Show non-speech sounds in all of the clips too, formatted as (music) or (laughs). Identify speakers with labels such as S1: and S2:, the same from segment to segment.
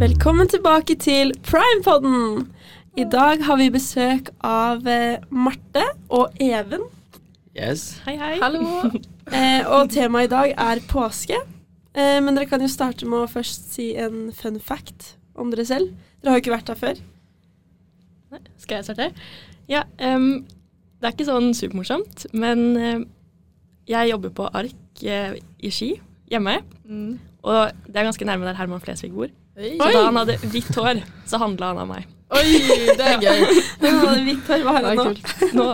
S1: Velkommen tilbake til Primepodden! I dag har vi besøk av eh, Marte og Even.
S2: Yes.
S3: Hei, hei.
S1: Eh, og temaet i dag er påske. Eh, men dere kan jo starte med å først si en fun fact om dere selv. Dere har jo ikke vært her før.
S3: (laughs) Nei, Skal jeg starte? Ja, em, det er ikke sånn supermorsomt, men em, jeg jobber på ARK eh, i Ski, hjemme. Og det er ganske nærme der Herman Flesvig bor.
S4: Mm. Oi.
S3: Så da han hadde hvitt hår, så handla han av meg.
S4: Oi, det er gøy.
S1: Ja, Victor, hva har han
S4: Det er
S1: nå?
S4: kult.
S3: Nå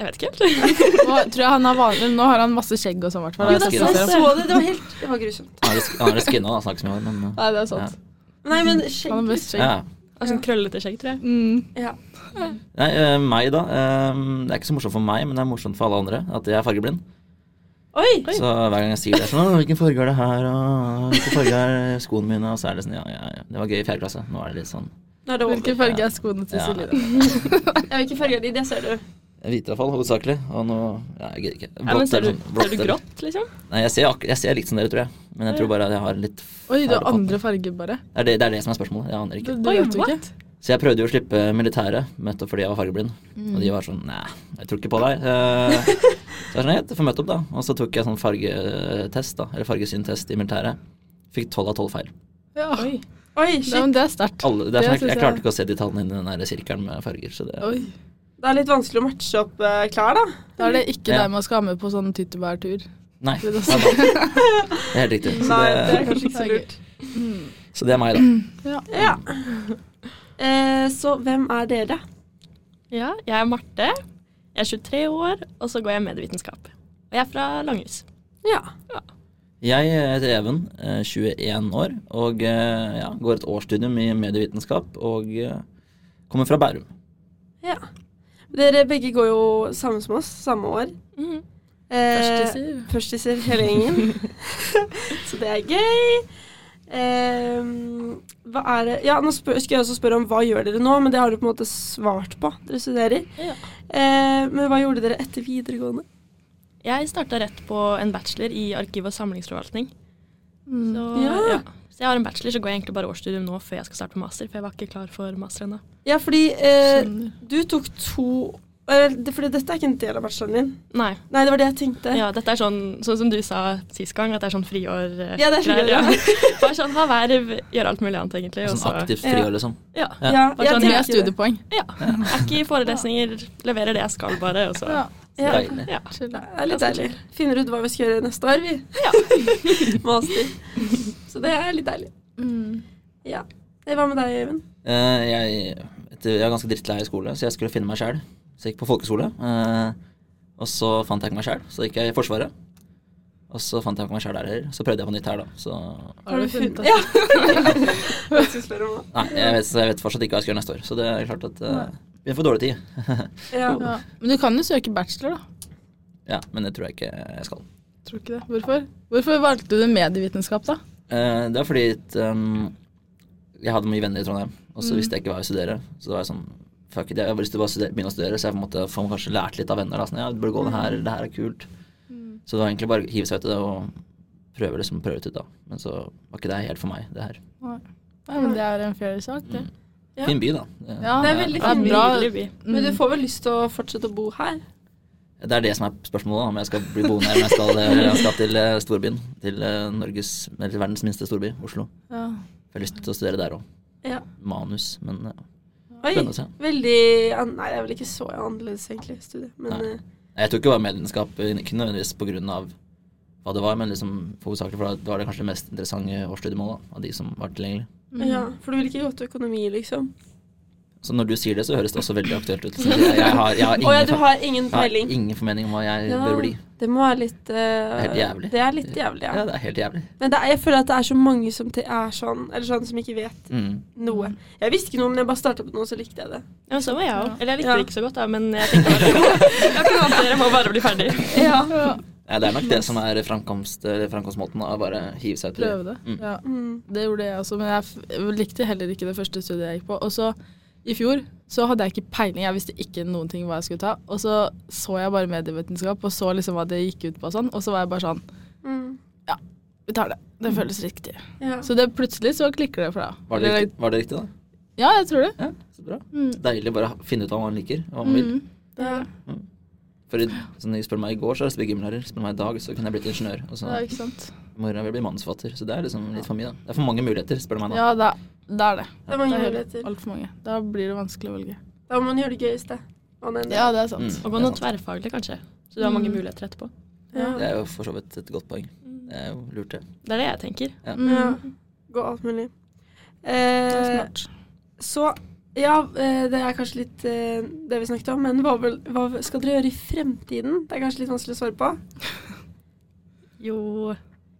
S3: Jeg vet ikke helt.
S4: Nå tror jeg han har vanlig, nå har han masse skjegg og sånn, i hvert fall.
S2: Jo, det er
S4: Det er sånn jeg
S1: Jeg
S4: ser ham.
S1: så det, det var helt det var grusomt.
S2: Han har det skinna, da. Snakker som jeg har, men uh,
S4: Nei, det er sant.
S1: Nei, men
S4: Han har
S1: skjegg
S4: mest skjegg.
S2: ja.
S3: Det er Sånn krøllete skjegg, tror jeg.
S4: Mm.
S1: ja.
S2: Nei, eh, meg, da. eh, det er ikke så morsomt for meg, men det er morsomt for alle andre at jeg er fargeblind.
S1: Oi!
S2: Så hver gang jeg sier det, er sånn «Å, 'Hvilken farge er det her?' og 'Hvilken farge er skoene mine?' Og så er det sånn Ja, ja, ja. Det var gøy i fjerde klasse. Nå er det litt sånn
S1: Nå er det over.
S4: Hvilken farge er skoene til
S2: Ja.
S4: Silje? da?
S1: Ja, Hvilke farger er de? Det ser du.
S2: Hvite, i hvert fall, hovedsakelig. Og nå Ja, jeg gidder ikke.
S3: Ja, men ser
S2: eller
S3: du,
S2: sånn-
S3: ser du
S2: eller-
S3: grått, liksom?
S2: Nei, jeg ser, ak jeg ser litt som dere, tror jeg. Men jeg tror bare at jeg har litt
S4: Oi, du
S2: feil
S4: har
S2: oppfatning.
S4: andre farger, bare.
S2: Det er det, det er det som er spørsmålet. Jeg aner
S4: Du,
S2: ikke.
S4: du
S3: Oi,
S4: vet jo
S3: what?
S4: ikke.
S2: Så jeg prøvde jo å slippe militæret, nettopp fordi jeg var fargeblind. Og de var sånn Nei, jeg tror ikke på deg. Eh, Så jeg var sånn, jeg får møte opp, da. Og så tok jeg sånn fargetest, da. Eller fargesyntest i militæret. Fikk tolv av tolv feil.
S4: Ja. Nei,
S1: Oi, shit.
S4: men det er sterkt.
S2: Alle, det er sånn,
S4: Det
S2: jeg, jeg
S4: synes
S2: klarte
S4: jeg-
S2: ikke å se de tallene inni den der sirkelen med farger. Så det,
S4: Oi.
S1: Det er litt vanskelig å matche opp eh, klær, da.
S4: Da er det ikke
S2: Ja.
S4: deg man skal ha med på sånn tyttebærtur.
S2: nei.
S4: Det er
S2: Det
S4: det
S2: er helt riktig. Så
S1: Nei, det
S2: det,
S1: er kanskje ikke så lurt.
S2: så det er meg, da.
S1: Ja. Eh, så hvem er dere?
S3: Ja, jeg er Marte. Jeg er 23 år, og så går jeg medievitenskap. Og jeg er fra Langhus.
S1: Ja.
S2: Jeg heter Even, eh, 21 år, og eh, ja, går et årsstudium i medievitenskap. Og eh, kommer fra Bærum.
S1: ja. Dere begge går jo samme som oss, samme år.
S3: Mhm.
S1: Eh,
S4: Førstiser.
S1: Førstiser hele
S3: (laughs)
S1: gjengen. så det er gøy. Eh, hva er det Ja, nå spør, skal jeg også spørre om hva gjør dere nå, men det har du på en måte svart på. Dere studerer.
S3: Ja.
S1: Eh, men hva gjorde dere etter videregående?
S3: Jeg starta rett på en bachelor i arkiv- og samlingsforvaltning.
S4: Mm.
S3: Så,
S1: Ja.
S3: ja. så jeg har en bachelor, så går jeg egentlig bare årsstudium nå før jeg skal starte på master, for jeg var ikke klar for master ennå.
S1: Ja, fordi eh,
S4: Skjønner.
S1: du tok to eh, det- Fordi dette er ikke en del av bacheloren din.
S3: Nei.
S1: Nei, det var det jeg tenkte.
S3: Ja, dette er sånn, sånn som du sa sist gang, at det er sånn friår. eh,
S1: Ja, det er friår,
S3: greier, (laughs) Bare sånn ha verv, gjøre alt mulig annet, egentlig. og
S2: Sånn
S3: så-
S2: aktivt
S1: ja.
S2: friår, liksom.
S3: Ja.
S2: Ja.
S1: Ja,
S3: Bare sånn,
S1: jeg tenker
S4: Med
S1: det.
S4: studiepoeng.
S3: ja. Er ikke i forelesninger, leverer det jeg skal, bare. Og så.
S4: Ja.
S1: Ja.
S2: Deilig.
S3: Ja.
S4: Chill.
S1: Det er litt deilig. Finner ut hva vi skal gjøre neste år, vi. (laughs) Master. Så det er litt deilig.
S4: Mm.
S1: Ja. Eh, Hva med deg, Øyvind?
S2: Eh, jeg, etter, jeg var ganske drittlei i skole, så jeg skulle finne meg sjæl. Så jeg gikk på folkeskole. eh, og så fant jeg ikke meg sjæl, så gikk jeg i Forsvaret. Og så fant jeg ikke meg sjæl der heller. Så prøvde jeg på nytt her, da. Så
S4: Har du
S1: funnet
S4: funnet deg?
S1: Ja. Jeg skal spørre om hva.
S2: nei, jeg vet, jeg vet fortsatt ikke hva jeg skal gjøre neste år. Så det er klart at eh, vi får dårlig tid.
S1: Ja.
S4: Ja. Men du kan jo søke bachelor, da.
S2: Ja, men det tror jeg ikke jeg skal.
S4: Tror ikke det. Hvorfor? Hvorfor valgte du medievitenskap, da?
S2: Eh, det er fordi ehm, jeg hadde mye venner i Trondheim, og
S1: Mm.
S2: så visste jeg ikke hva jeg skulle studere. Så da var jeg sånn Fuck it, jeg har bare lyst til å bare studere, begynne å studere, så jeg på en måte får kanskje lært litt av venner. Da. Sånn, ja, du burde gå det her, det her er kult.
S1: Mm.
S2: Så det var egentlig bare å hive seg ut i det og prøve, liksom, prøve ut det ut, da. Men så var ikke det helt for meg, det her.
S4: Nei, men det er en fair sak, det.
S1: Ja.
S2: Fin by, da. Det- Mm.
S4: Ja.
S1: Det er veldig
S4: Ja,
S1: fin by.
S4: bra.
S3: Nydelig by.
S1: Men du får vel lyst til å fortsette å bo her?
S2: Det er det som er spørsmålet, da, om jeg skal bli boende her, om jeg skal, eller jeg skal til eh, storbyen. Til eh, Norges, eller til verdens minste storby, Oslo.
S4: Ja.
S2: Jeg har lyst til å studere der òg.
S1: Ja.
S2: Manus, men eh,
S1: Oi.
S2: spennende å se.
S1: Veldig an- Nei, det er vel ikke så annerledes, egentlig, studiet. Men
S2: Nei.
S1: eh,
S2: Jeg tok jo bare medlemskap, ikke nødvendigvis på grunn av hva det var, men liksom hovedsakelig for det var det kanskje det mest interessante årsstudiemålet da, av de som var tilgjengelig.
S1: ja, for du vil ikke gå til økonomi, liksom?
S2: Så når du sier det, så høres det også veldig aktuelt ut. Så jeg, jeg har, jeg har
S1: (laughs) Å ja, du
S2: ingen,
S1: har ingen
S2: jeg har
S1: peiling?
S2: ingen formening om hva jeg
S1: Ja,
S2: bør bli.
S1: det må være litt eh,
S2: Helt jævlig.
S1: Det er litt jævlig, ja.
S2: Ja, det er helt jævlig.
S1: Men det er, jeg føler at det er så mange som te- er sånn, eller sånn som ikke vet
S2: Mm.
S1: noe. Jeg visste ikke noe, men jeg bare starta på noe, så likte jeg det.
S3: Ja, men så var jeg òg. Eller jeg likte
S1: Ja.
S3: det ikke så godt, da, men jeg tenkte
S1: (laughs)
S3: bare Jeg kan at dere må bare bli ferdig.
S1: Ja.
S2: Ja, det er nok det som er framkomst, eller framkomstmåten, å bare hive seg ut i
S4: Prøve det.
S2: Mm.
S4: Ja.
S1: Mm.
S4: Det gjorde jeg også, men jeg f- likte heller ikke det første studiet jeg gikk på. Og så i fjor så hadde jeg ikke peiling, jeg visste ikke noen ting hva jeg skulle ta. Og så så jeg bare medievitenskap og så liksom hva det gikk ut på og sånn, og så var jeg bare sånn
S1: Mm.
S4: Vi tar det. Det føles riktig.
S1: Ja.
S4: Så det plutselig så klikker det for deg.
S2: Var det,
S4: Eller-
S2: riktig, var det riktig, da?
S4: Ja, jeg tror det.
S2: Ja, så bra.
S4: Mm.
S2: Deilig bare å finne ut hva man liker. Hva man vil.
S4: Mm.
S1: Ja.
S2: For i, sånn, jeg spør meg i går, så har jeg lyst til å bli gymlærer. Spør meg i dag, så kunne jeg blitt ingeniør. Og så
S4: Ja, ikke sant.
S2: i morgen vil jeg bli mannsfatter. Så det er liksom litt for mye, da. Det er for mange muligheter, spør du meg nå.
S4: Ja, da, da er det.
S1: Det er mange
S4: Da er det
S1: muligheter.
S4: Altfor mange. Da blir det vanskelig å velge.
S1: Da må man gjøre det gøyeste. Hva enn det
S4: Ja,
S1: er.
S4: det er sant.
S2: Mm,
S3: Og
S2: det
S3: gå
S2: er
S3: noe
S2: sant.
S3: tverrfaglig, kanskje. Så du har mange
S4: Mm.
S3: muligheter etterpå.
S1: Ja.
S2: Det er jo for så vidt et godt poeng.
S3: Mm.
S2: Det er jo lurt, det.
S3: Det er det jeg tenker.
S4: Mm.
S1: Ja. Gå alt mulig.
S4: Det er
S1: Eh,
S4: smart.
S1: så ja, eh, det er kanskje litt eh, det vi snakket om, men hva, vil, hva skal dere gjøre i fremtiden? Det er kanskje litt vanskelig å svare på.
S3: Jo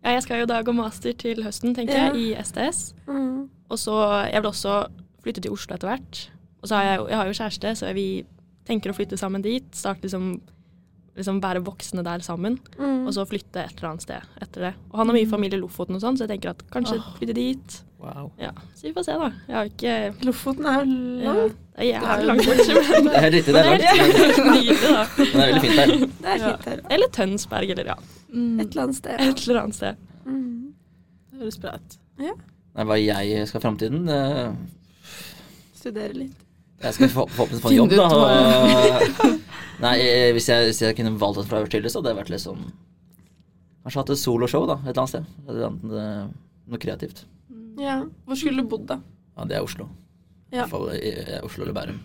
S3: Ja, jeg skal jo da gå master til høsten, tenker
S1: Ja.
S3: jeg, i STS.
S1: Mm.
S3: Og så Jeg vil også flytte til Oslo etter hvert. Og så har jeg, jo- jeg har jo kjæreste, så vi tenker å flytte sammen dit. Starte liksom Liksom være voksne der sammen,
S1: Mm.
S3: og så flytte et eller annet sted etter det. Og han har mye familie i Lofoten og sånn, så jeg tenker at kanskje
S4: Åh.
S3: flytte dit.
S2: Wow.
S3: Ja, Så vi får se, da. Jeg har ikke
S1: Lofoten er jo
S3: ja,
S1: langt.
S3: Det er
S4: Det er
S3: jævlig
S4: jo-
S3: (laughs) langt, kanskje, men
S2: Det er helt riktig, det er
S3: Men det
S2: langt,
S3: er
S2: men
S3: Nydelig, da.
S2: men det er veldig fint der.
S1: Det er fint her.
S3: Eller Tønsberg, eller ja.
S4: Mm.
S1: Et eller annet sted.
S3: Et eller annet sted.
S1: Mm.
S4: Det høres bra ut.
S2: Nei, hva jeg skal i framtiden eh,
S1: Studere litt.
S2: Jeg skal få- forhåpentligvis få en jobb,
S4: Finn
S2: da.
S4: ut
S2: Og, (laughs) nei, eh, hvis jeg, hvis jeg kunne valgt et fra øverst til, så hadde jeg vært litt sånn Kanskje hatt et soloshow, da, et eller annet sted. Et eller annet, eh, noe kreativt.
S1: Ja. Hvor skulle du bodd, da?
S2: Ja, det er Oslo.
S1: Ja.
S2: I hvert fall i, i Oslo eller Bærum.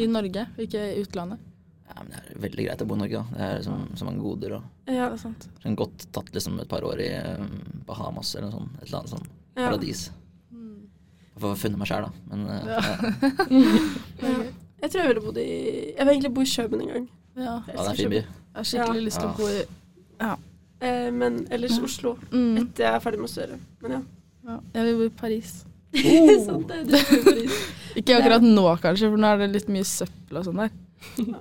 S4: I Norge, ikke i utlandet.
S2: Ja, men det er veldig greit å bo i Norge, da. Det er liksom, så mange goder og
S1: Ja.
S4: Det er sant.
S2: sånn Godt tatt liksom et par år i eh, Bahamas eller noe sånt. Et eller annet sånn
S1: Ja.
S2: paradis. Jeg får funnet meg sjæl, da. Men eh,
S4: Mm. Ja.
S2: ja.
S1: Ja. Jeg tror jeg ville bodd i Jeg vil egentlig bo i Kjøben en gang.
S4: Ja.
S2: ja, det er en fin by.
S4: Jeg har skikkelig
S1: Ja.
S4: lyst til å
S2: Ja.
S4: bo i
S1: Eh, men ellers Oslo.
S4: mm.
S1: Etter jeg er ferdig med å studere. Men ja.
S4: ja. Jeg vil bo i Paris.
S1: (laughs) Sånn, det,
S4: (laughs)
S1: det, er dritt.
S4: Ikke akkurat nå, kanskje, for nå er det litt mye søppel og sånn (laughs) der.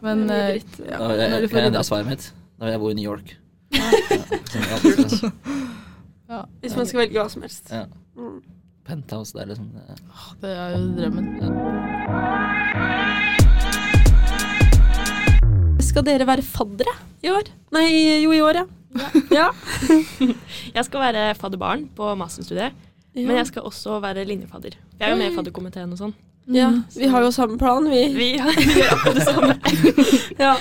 S4: Men
S1: Det er mye
S4: eh,
S1: dritt.
S4: (laughs) ja,
S2: Da
S4: når
S2: vil jeg,
S4: du
S2: kan
S4: får
S2: jeg
S4: rydda
S2: endre
S4: opp.
S2: svaret mitt. Da vil jeg bo i New York.
S4: Ja.
S2: (laughs) Ja, sånn,
S4: Ja,
S1: Hvis man skal velge hva som helst.
S2: ja.
S1: Mm.
S2: Penthouse der, liksom. Det er-
S4: det er jo drømmen.
S1: Skal dere være faddere i år? Nei, jo i år, ja. Ja.
S3: Jeg skal være fadderbarn på masterstudiet, men jeg skal også være linjefadder. Jeg er jo med i fadderkomiteen og sånn.
S1: ja. Vi har jo samme plan, Mm. vi.
S3: Vi, vi gjør akkurat det samme.
S1: (laughs) Ja.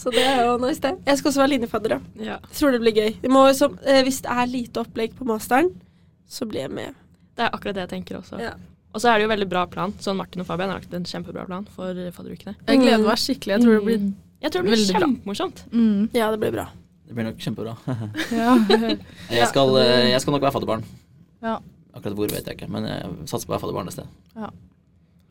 S1: Så det er jo nice, det. Jeg skal også være linjefadder, ja.
S3: Ja.
S1: Jeg tror det blir gøy. Vi må, jo som, eh, hvis det er lite opplegg på masteren, så blir jeg med.
S3: Det er akkurat det jeg tenker også.
S1: Ja.
S3: Og så er det jo veldig bra plan. Sånn Martin og Fabian har lagt en kjempebra plan for fadderukene.
S4: Jeg gleder meg skikkelig. Jeg tror det blir
S3: Jeg tror det blir
S4: Veldig bra.
S3: kjempemorsomt.
S4: mm.
S1: Ja, det blir bra.
S2: Det blir nok kjempebra.
S4: (laughs) ja.
S2: Jeg skal, eh, jeg skal nok være fadderbarn.
S4: Ja.
S2: Akkurat hvor vet jeg ikke, men jeg satser på å være fadderbarn neste.
S4: Ja.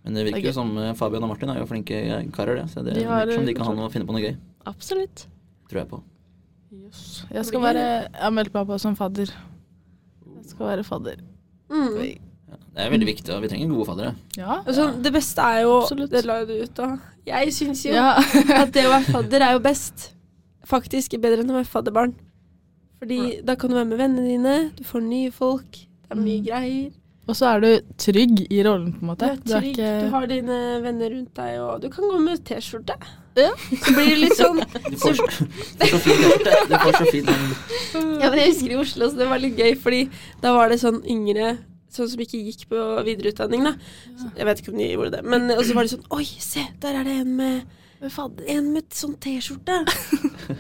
S2: Men det
S4: Det
S2: virker
S4: er
S2: jo som eh, Fabian og Martin er jo flinke karer, det. Så det
S4: De har,
S2: virker som de kan ha
S4: eh,
S2: noe å finne på noe gøy.
S3: Absolutt.
S2: Tror jeg på.
S4: Jeg skal være Jeg har meldt meg på som fadder. Jeg skal være fadder.
S1: Mm.
S2: Ja. Det er veldig viktig, og vi trenger gode faddere.
S4: Ja.
S1: Altså, det beste er jo
S4: Absolutt.
S1: Det la du ut, da. Jeg syns jo
S4: ja.
S1: (laughs)
S4: (laughs)
S1: at det å være fadder er jo best. Faktisk bedre enn å være fadderbarn. Fordi da kan du være med vennene dine, du får nye folk, det er mye
S4: Mm.
S1: greier.
S4: Og så er du trygg i rollen, på en
S1: Du
S4: måte.
S1: er trygg, du har dine venner rundt deg, og du kan gå med T-skjorte. Så blir det litt sånn
S2: Du får, så- du får så fint Du får så fint
S1: Ja, men jeg husker i Oslo, så det var litt gøy, fordi da var det sånn yngre Sånn som ikke gikk på videreutdanning, da. Så Jeg vet ikke om de gjorde det. Men og så var det sånn Oi, se, der er det en med, med fadder, en med sånn T-skjorte.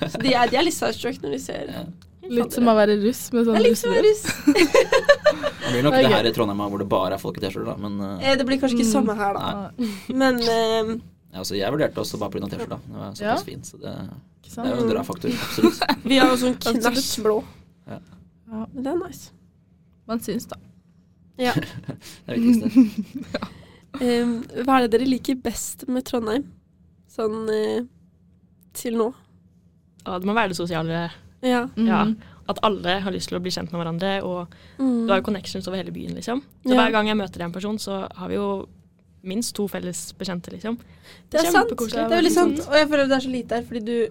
S1: Så de er, de er litt starstruck når de ser
S2: Ja.
S4: Litt som å være russ med
S1: Det
S4: sånn
S1: er litt som en
S4: russedress.
S1: russ.
S2: Det blir nok
S4: Det er
S2: det
S4: gøy.
S2: her i Trondheim hvor det bare er folk i T-skjorte, da. Men eh,
S1: Eh, Det blir kanskje ikke samme her, da.
S2: nei.
S3: Mm.
S1: Men eh,
S2: Ja, altså, jeg vurderte også bare pga. T-skjorta. Den var
S4: Ja.
S2: såpass fin, så det,
S4: Ikke
S2: det er
S4: sant?
S2: jo en dra-faktor. Absolutt.
S1: vi har jo sånn
S4: Absolutt.
S1: knæsjblå.
S2: Ja.
S4: Ja.
S1: Men det er nice.
S4: Man syns, (laughs) da.
S1: Ja.
S2: Det er viktigste.
S1: Em, Eh, hva er det dere liker best med Trondheim? Sånn eh, til nå.
S3: Ja, det må være det sosiale.
S1: Ja.
S3: Ja.
S4: Mm.
S3: At alle har lyst til å bli kjent med hverandre. Og
S1: Mm.
S3: du har jo connections over hele byen, liksom. Så
S1: Ja.
S3: hver gang jeg møter en person, så har vi jo minst to felles bekjente, liksom.
S1: Det er sant. Det
S3: kjempekoselig.
S1: er veldig sant. Og jeg føler det er så lite her, fordi du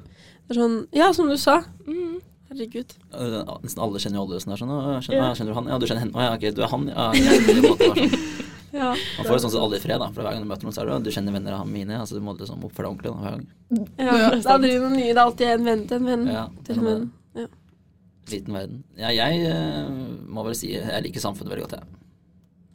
S1: det er sånn Ja, som du sa.
S3: Mm.
S1: Herregud.
S2: Uh, Nesten alle kjenner jo alle sånn der. Sånn, «Å, kjenner,
S3: Ja.
S2: ja. kjenner du han? Ja, du kjenner henne. Å ja, ok, du er han. Ja, ja, på en måte, bare sånn.
S1: Ja.
S2: Man får jo sånn sett alle i fred, da. For hver gang du møter noen, så er det jo du kjenner venner av han mine. Altså, du må liksom oppføre deg ordentlig da, hver gang.
S1: Det er aldri noen nye. Det er alltid en venn Mm, til en venn.
S2: Ja,
S1: Til en venn.
S2: Liten verden. Ja, jeg eh, må vel si jeg liker samfunnet veldig godt, jeg.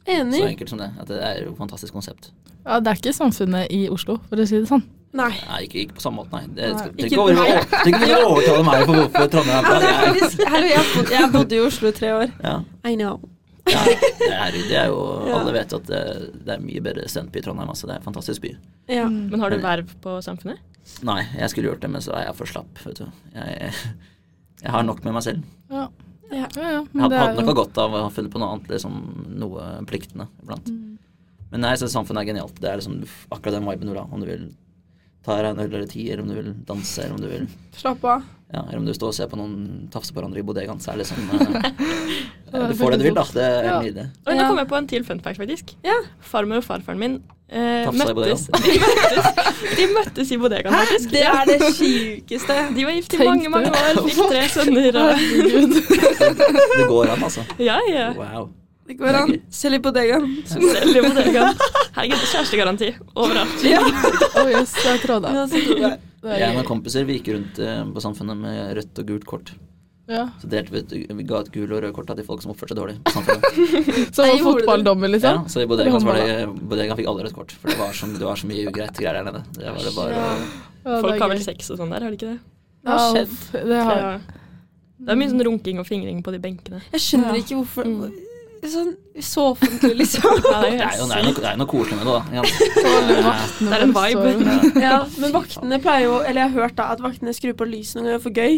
S2: Så
S1: Enig.
S2: enkelt som det. At det er jo et fantastisk konsept.
S4: Ja, det er ikke samfunnet i Oslo, for å si det sånn.
S1: Nei.
S2: Nei, ikke, ikke på samme måte, nei. Det,
S4: Nei.
S2: tenk over, tenk over å overtale meg for hvorfor
S1: (laughs)
S2: Trondheim
S1: Ja,
S2: er
S1: det er
S2: bra. Jeg-
S1: faktisk, hallo, jeg, har bodd, jeg har bodd i Oslo i tre år.
S2: Ja,
S1: I know.
S2: ja, det, er, det er jo
S1: Ja.
S2: Alle vet at det, det er mye bedre studentby i Trondheim. Altså, det er en fantastisk by.
S1: Ja.
S3: Men har du verv på samfunnet?
S2: Nei, jeg skulle gjort det, men så er jeg for slapp, vet du. Jeg, (laughs) jeg har nok med meg selv.
S1: Ja.
S4: Ja. Ja, ja,
S2: Jeg
S4: men
S2: hadde,
S4: det er
S2: hadde nok hatt godt av å ha funnet på noe annet, liksom noe pliktende iblant. Men nei, så samfunnet er genialt. Det er liksom akkurat den viben du vil ha. Om du vil ta deg en øl eller ti, eller om du vil danse, eller om du vil
S1: Slapp av.
S2: Ja, eller om du står og ser på noen tafse på hverandre i bodegaen, så er
S4: (laughs)
S2: det liksom eh,
S4: Ja,
S2: Du
S4: det
S2: får det du vil, da.
S4: føles
S2: Det er
S4: Ja.
S2: nydelig.
S3: Oi,
S1: Ja.
S3: Nå kom jeg på en til fun fact, faktisk.
S1: Ja.
S3: Farmor og farfaren min eh,
S2: Tafsa i
S3: møttes, (laughs) de møttes De møttes i bodegaen, faktisk.
S1: Det er det sjukeste.
S3: De var gift i
S4: Tenk
S3: mange, mange år, fikk tre sønner og
S4: Herregud.
S2: Det går an, altså.
S3: (laughs) Ja, ja.
S2: Wow.
S1: Det går an. Selv i bodegaen.
S3: Selv i bodegaen. Herregud, kjærestegaranti overalt.
S1: Ja. (laughs)
S4: (laughs) Oh, yes, det er Trondheim. Det er
S2: Jeg og
S4: gøy.
S2: noen kompiser vi gikk rundt eh, på Samfunnet med rødt og gult kort.
S4: Ja.
S2: Så delte vi, ut- vi ga et gul og rød kort da, til folk som oppførte seg dårlig. på
S4: (laughs)
S2: Samfunnet.
S4: Så
S1: Jeg gjorde det.
S4: fotballdommer,
S2: Ja,
S4: liksom?
S2: så i bodegaen, så var det, bodegaen fikk alle rødt kort, for det var så, det var så mye ugreit greier der nede. Det var det bare
S4: Ja, det
S3: Folk
S4: er
S3: har vel
S4: gøy.
S3: sex og sånn der, har de ikke det?
S1: Det har skjedd.
S4: Ja, Det har
S3: Ja. Det er mye sånn runking og fingring på de
S2: (laughs)
S3: benkene.
S1: Jeg skjønner
S4: Ja.
S1: ikke hvorfor
S3: Mm.
S1: sånn, Så offentlig, liksom.
S3: Ja,
S2: Det er
S3: det, er
S2: jo
S3: helt
S2: det er
S3: sykt.
S2: noe, det er noe koselig med det,
S4: (laughs)
S2: da.
S4: Tåler
S2: Ja.
S4: vaktene
S3: Det er en
S4: våre så-
S2: (laughs)
S3: vibe.
S1: (laughs)
S2: Ja.
S1: Ja, men vaktene pleier jo Eller jeg har hørt da at vaktene skrur på lyset noen ganger for gøy.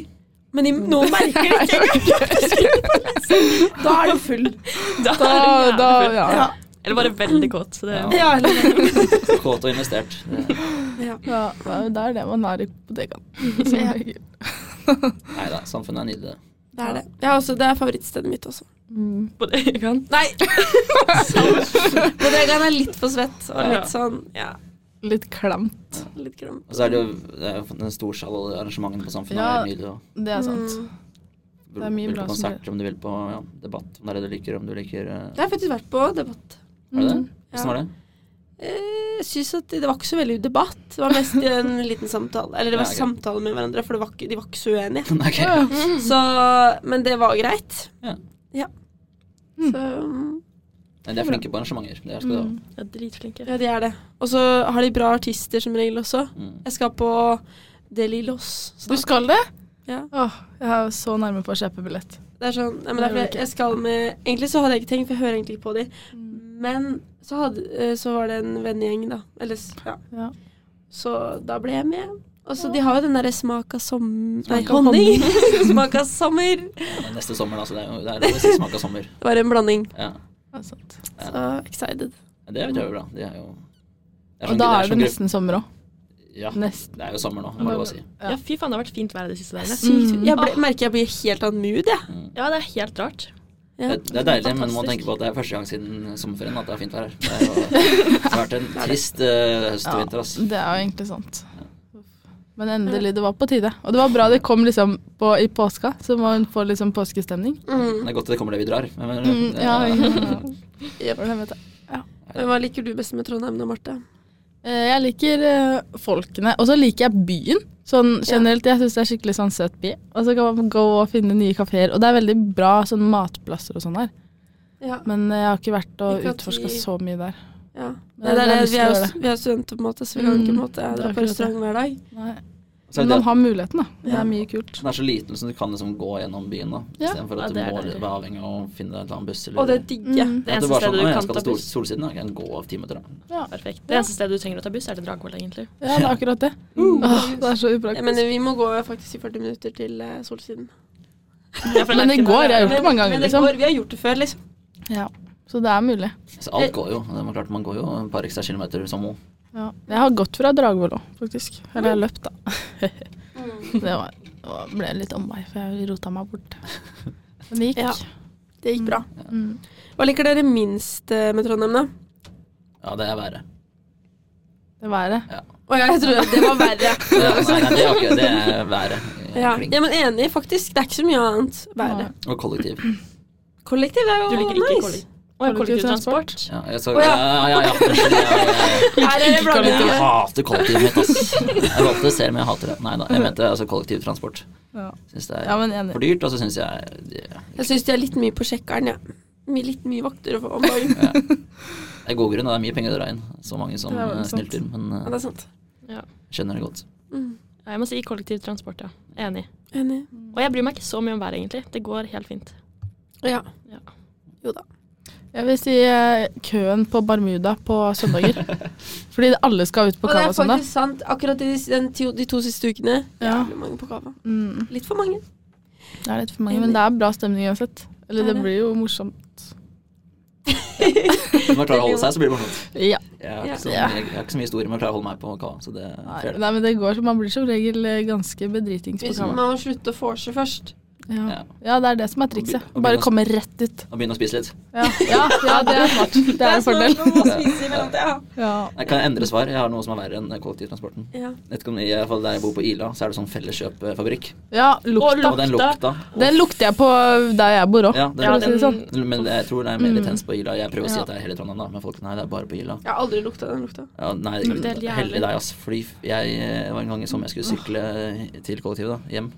S1: Men de, nå (laughs) merker de Mm. ikke engang at de skrur på lyset. Da er du full.
S3: (laughs) Da er det
S4: Da,
S3: jævlig
S4: da,
S3: fullt.
S4: ja.
S1: Ja.
S3: Eller bare veldig kåt. Så det,
S2: Ja.
S1: Ja, eller,
S2: Kåt og investert.
S1: (laughs)
S2: Nei
S1: ja.
S4: ja. Det er det man er i
S1: (laughs)
S4: bodegaen. Så
S1: Ja.
S4: det er gøy.
S2: da, samfunnet er nydelig.
S1: Det er det. Jeg har også, altså, det er favorittstedet mitt også.
S4: Mm.
S3: Bodegaen.
S1: (laughs) Nei! Bodegaen er litt for svett og
S3: Ja.
S1: litt sånn ja,
S4: Litt klemt.
S1: litt grum.
S2: Og så er det jo det er jo en storsal, og arrangementene på Samfunnet
S4: Ja.
S2: er nydelig. Og
S4: Det er sant.
S1: Mm.
S2: du
S4: Det er mye
S2: vil
S4: bra
S2: på
S4: som
S2: konsert, om du vil på ja, debatt, om det er det du liker, om du liker eh,
S1: Det har jeg faktisk vært på debatt.
S2: Er det det?
S4: Mm.
S1: Ja.
S2: Hvordan var det?
S1: Eh, synes at det, det var ikke så veldig debatt. Det var mest en liten samtale. Eller det var
S2: Ja, ok.
S1: samtale med hverandre, for det var ikke, de var ikke så uenige.
S2: (laughs) Nei, ok.
S4: Ja.
S1: Så, men det var greit.
S2: Ja.
S4: Mm.
S1: Så, mm,
S2: Nei, de er flinke på arrangementer. Det skal du ha.
S4: Mm.
S3: Ja, dritflinke.
S1: ja, de er det. Og så har de bra artister som regel også.
S2: Mm.
S1: Jeg skal på Deli Los.
S4: Du skal det?
S1: Ja.
S4: Åh, jeg er så nærme på å kjøpe billett.
S1: Det er sånn, nei, men det er fordi jeg skal med Egentlig så hadde jeg ikke tenkt, for jeg hører egentlig ikke på de.
S4: Mm.
S1: Men så, hadde, eh, så var det en vennegjeng, da. Eller, s- ja.
S4: Ja.
S1: Så da ble jeg med. Og så de har jo den derre smak av som... Nei,
S2: Smak av
S1: honning! (laughs) smak av sommer! Det
S2: Ja, men Neste sommer, da. Så det er jo det er det siste smak av sommer.
S1: var en blanding.
S2: Ja.
S4: Det er sant.
S1: Så excited.
S4: Mm.
S2: Ja, Det vet jeg jo bra. De er jo det
S4: Og
S2: sånn-
S4: da
S2: det
S4: er det
S2: sånn gruppe-
S4: nesten sommer òg.
S2: Ja,
S4: Nesten.
S2: det er jo sommer nå, må jeg bare si.
S4: Ja.
S3: Ja, fy faen, det har vært fint vær de siste dagene.
S1: Sykt.
S4: Mm.
S1: Jeg ble, merker jeg blir helt annen mood, jeg.
S3: Ja, det er helt rart.
S1: Ja.
S2: Det, det er deilig, men man må
S3: Fantastisk.
S2: tenke på at det er første gang siden sommerferien at det er fint vær her. Det er jo- det har vært
S4: (laughs)
S2: en trist eh, høst og vinter, ass.
S4: det er jo egentlig sant. Men endelig, det var på tide. Og det var bra det kom liksom på, i påska, så man får liksom påskestemning.
S1: Mm.
S2: Det er godt at det kommer det vi drar. Men,
S4: Mm, ja, ja.
S1: Jep.
S4: For helvete.
S1: Men Hva liker du best med Trondheim nå, Marte?
S4: Eh, Jeg liker eh, folkene, og så liker jeg byen. Sånn generelt, Jeg syns det er skikkelig sånn søt by. Og så kan man gå og finne nye kafeer. Og det er veldig bra sånn matplasser og sånn her.
S1: Ja.
S4: Men eh, jeg har ikke vært og
S1: Ikke at
S4: utforska
S1: vi-
S4: så mye der.
S1: ja. Nei, det
S4: Men
S1: er
S4: jeg har
S1: det.
S4: lyst
S1: Vi
S4: til å
S1: er, jo
S4: gjøre
S1: s- vi er studenter, på en måte, så vi kan
S4: Mm.
S1: ikke på en måte
S4: Det er
S1: dra på
S4: akkurat
S1: restaurant hver dag.
S4: Nei.
S2: Så er
S4: Men
S2: det
S4: man har muligheten, da. Det
S1: Ja.
S4: er mye kult.
S2: Den er så liten, så du kan liksom gå gjennom byen. da
S4: Ja,
S2: Istedenfor
S3: ja,
S2: at
S3: det er
S2: du må
S3: deilig.
S2: være avhengig av å finne en eller annen buss. Eller,
S1: Og det digger jeg.
S4: Mm.
S3: Det
S2: At
S3: eneste
S2: bare sånn,
S3: stedet
S2: «Å,
S3: du
S2: jeg
S3: kan
S2: skal
S3: ta
S2: til Sol-
S3: buss.
S2: Solsiden, da. Jeg kan gå av ti minutter. da.
S3: Perfekt. Det eneste stedet du trenger å ta buss, er til Dragvoll, egentlig.
S4: Ja, det er akkurat det. Mm.
S1: Uh.
S4: Åh, det er så
S1: Jeg
S4: upraktisk.
S1: mener, vi må gå faktisk i 40 minutter til eh, Solsiden.
S3: (laughs) Ja, for
S4: Men
S3: er
S4: det
S3: ikke-
S4: går, jeg har gjort det mange ganger,
S1: Men det
S4: liksom.
S1: går, vi har gjort det før, liksom.
S4: Ja. Så det er mulig.
S2: Så alt går jo. Det er klart Man går jo et par ekstra kilometer som må.
S4: Ja. Jeg har gått fra Dragvoll òg, faktisk. Eller jeg har løpt, da.
S1: Mm.
S4: Det var, det ble litt omvei, for jeg rota meg (laughs) bort. Men det gikk.
S1: Ja. Det gikk bra.
S4: Mm.
S1: Hva liker dere minst eh, med Trondheim, da?
S2: Ja, det er været.
S4: Det været.
S1: Å ja, jeg trodde det var verre.
S2: Det er, nei, nei, det er ikke det. er været.
S1: (laughs) Ja.
S2: Kling.
S1: ja, men enig, faktisk. Det er ikke så mye annet. Været.
S2: Og kollektiv.
S1: Kollektiv er jo
S3: Du liker ikke
S1: nice.
S3: kollektiv. Og kollektivtransport.
S4: Kollektivtransport.
S2: Ja, jeg, så,
S1: Å,
S2: ja,
S1: ja.
S2: ja, ja.
S1: Her
S2: Jeg,
S1: er det
S2: jeg, jeg
S1: blanding.
S2: hater kollektivet mitt, ass. Jeg valgte selv, men jeg hater det. Nei da, jeg mente altså kollektivtransport.
S4: Ja.
S2: Syns det er
S4: Ja, men enig.
S2: for dyrt, og så syns jeg det,
S1: Jeg syns de er litt mye på sjekkeren, jeg. Ja. Litt mye vakter å få om
S4: (laughs)
S1: dagen.
S2: ja. Det er god grunn, og det er mye penger å dra inn. Så mange som
S4: Det er veldig
S2: eh,
S4: sant.
S2: snylter, men
S1: Ja,
S2: eh,
S1: det er sant.
S2: skjønner det godt.
S3: Ja, jeg må si kollektivtransport, ja. Enig.
S1: Enig.
S3: Og jeg bryr meg ikke så mye om været, egentlig. Det går helt fint.
S1: Ja.
S3: Ja.
S1: Jo da.
S4: Jeg vil si eh, køen på Barmuda på (laughs) søndager. Fordi alle skal ut på
S1: Og det
S4: kava
S1: er
S4: søndag.
S1: faktisk sant. Akkurat i den, ti- de to siste ukene
S4: Ja.
S1: jævlig mange på kava.
S4: Mm,
S1: Litt for mange.
S4: det er litt for mange, men det er bra stemning uansett.
S1: Er
S4: Eller det
S1: det?
S4: blir jo morsomt.
S2: Hvis man klarer å holde seg, så blir det morsomt.
S4: Ja.
S2: Jeg har
S1: Ja.
S2: ikke så, jeg, jeg har ikke så mye historie, men jeg klarer å holde meg på kava. Så det
S4: Nei,
S2: det er det.
S4: nei, men det går så Man blir som regel eh, ganske bedritings på
S1: Hvis man
S4: kava.
S1: må slutte å forse først.
S4: Ja.
S2: Ja.
S4: ja, det er det som er trikset.
S2: Og be- og
S4: Bare
S2: begynne å-
S4: komme rett ut.
S2: Og begynne å spise litt.
S4: Ja, ja, ja det er smart. (laughs) Det er en fordel. (laughs) Ja.
S2: Jeg kan endre svar. Jeg har noe som er verre enn kollektivtransporten.
S1: Ja.
S2: Jeg vet ikke om, i hvert fall Der jeg bor på Ila, så er det sånn felleskjøpfabrikk.
S4: ja, lukta.
S2: Og den lukta. og-
S4: Den lukter jeg på der jeg bor òg.
S2: Ja, den
S4: Ja,
S2: lukta.
S4: det er sånn. Mm.
S2: Men jeg tror det er mer intens på Ila. Jeg prøver å si at det er hele Trondheim, da, men folk nei, det er bare på Ila.
S1: Jeg har aldri lukta den lukta.
S2: Ja,
S4: Mm.
S2: nei,
S3: det er helt jævlig.
S2: heldig deg, ass. Fordi jeg eh, var en gang i sommer jeg skulle sykle til kollektivet, da, hjem.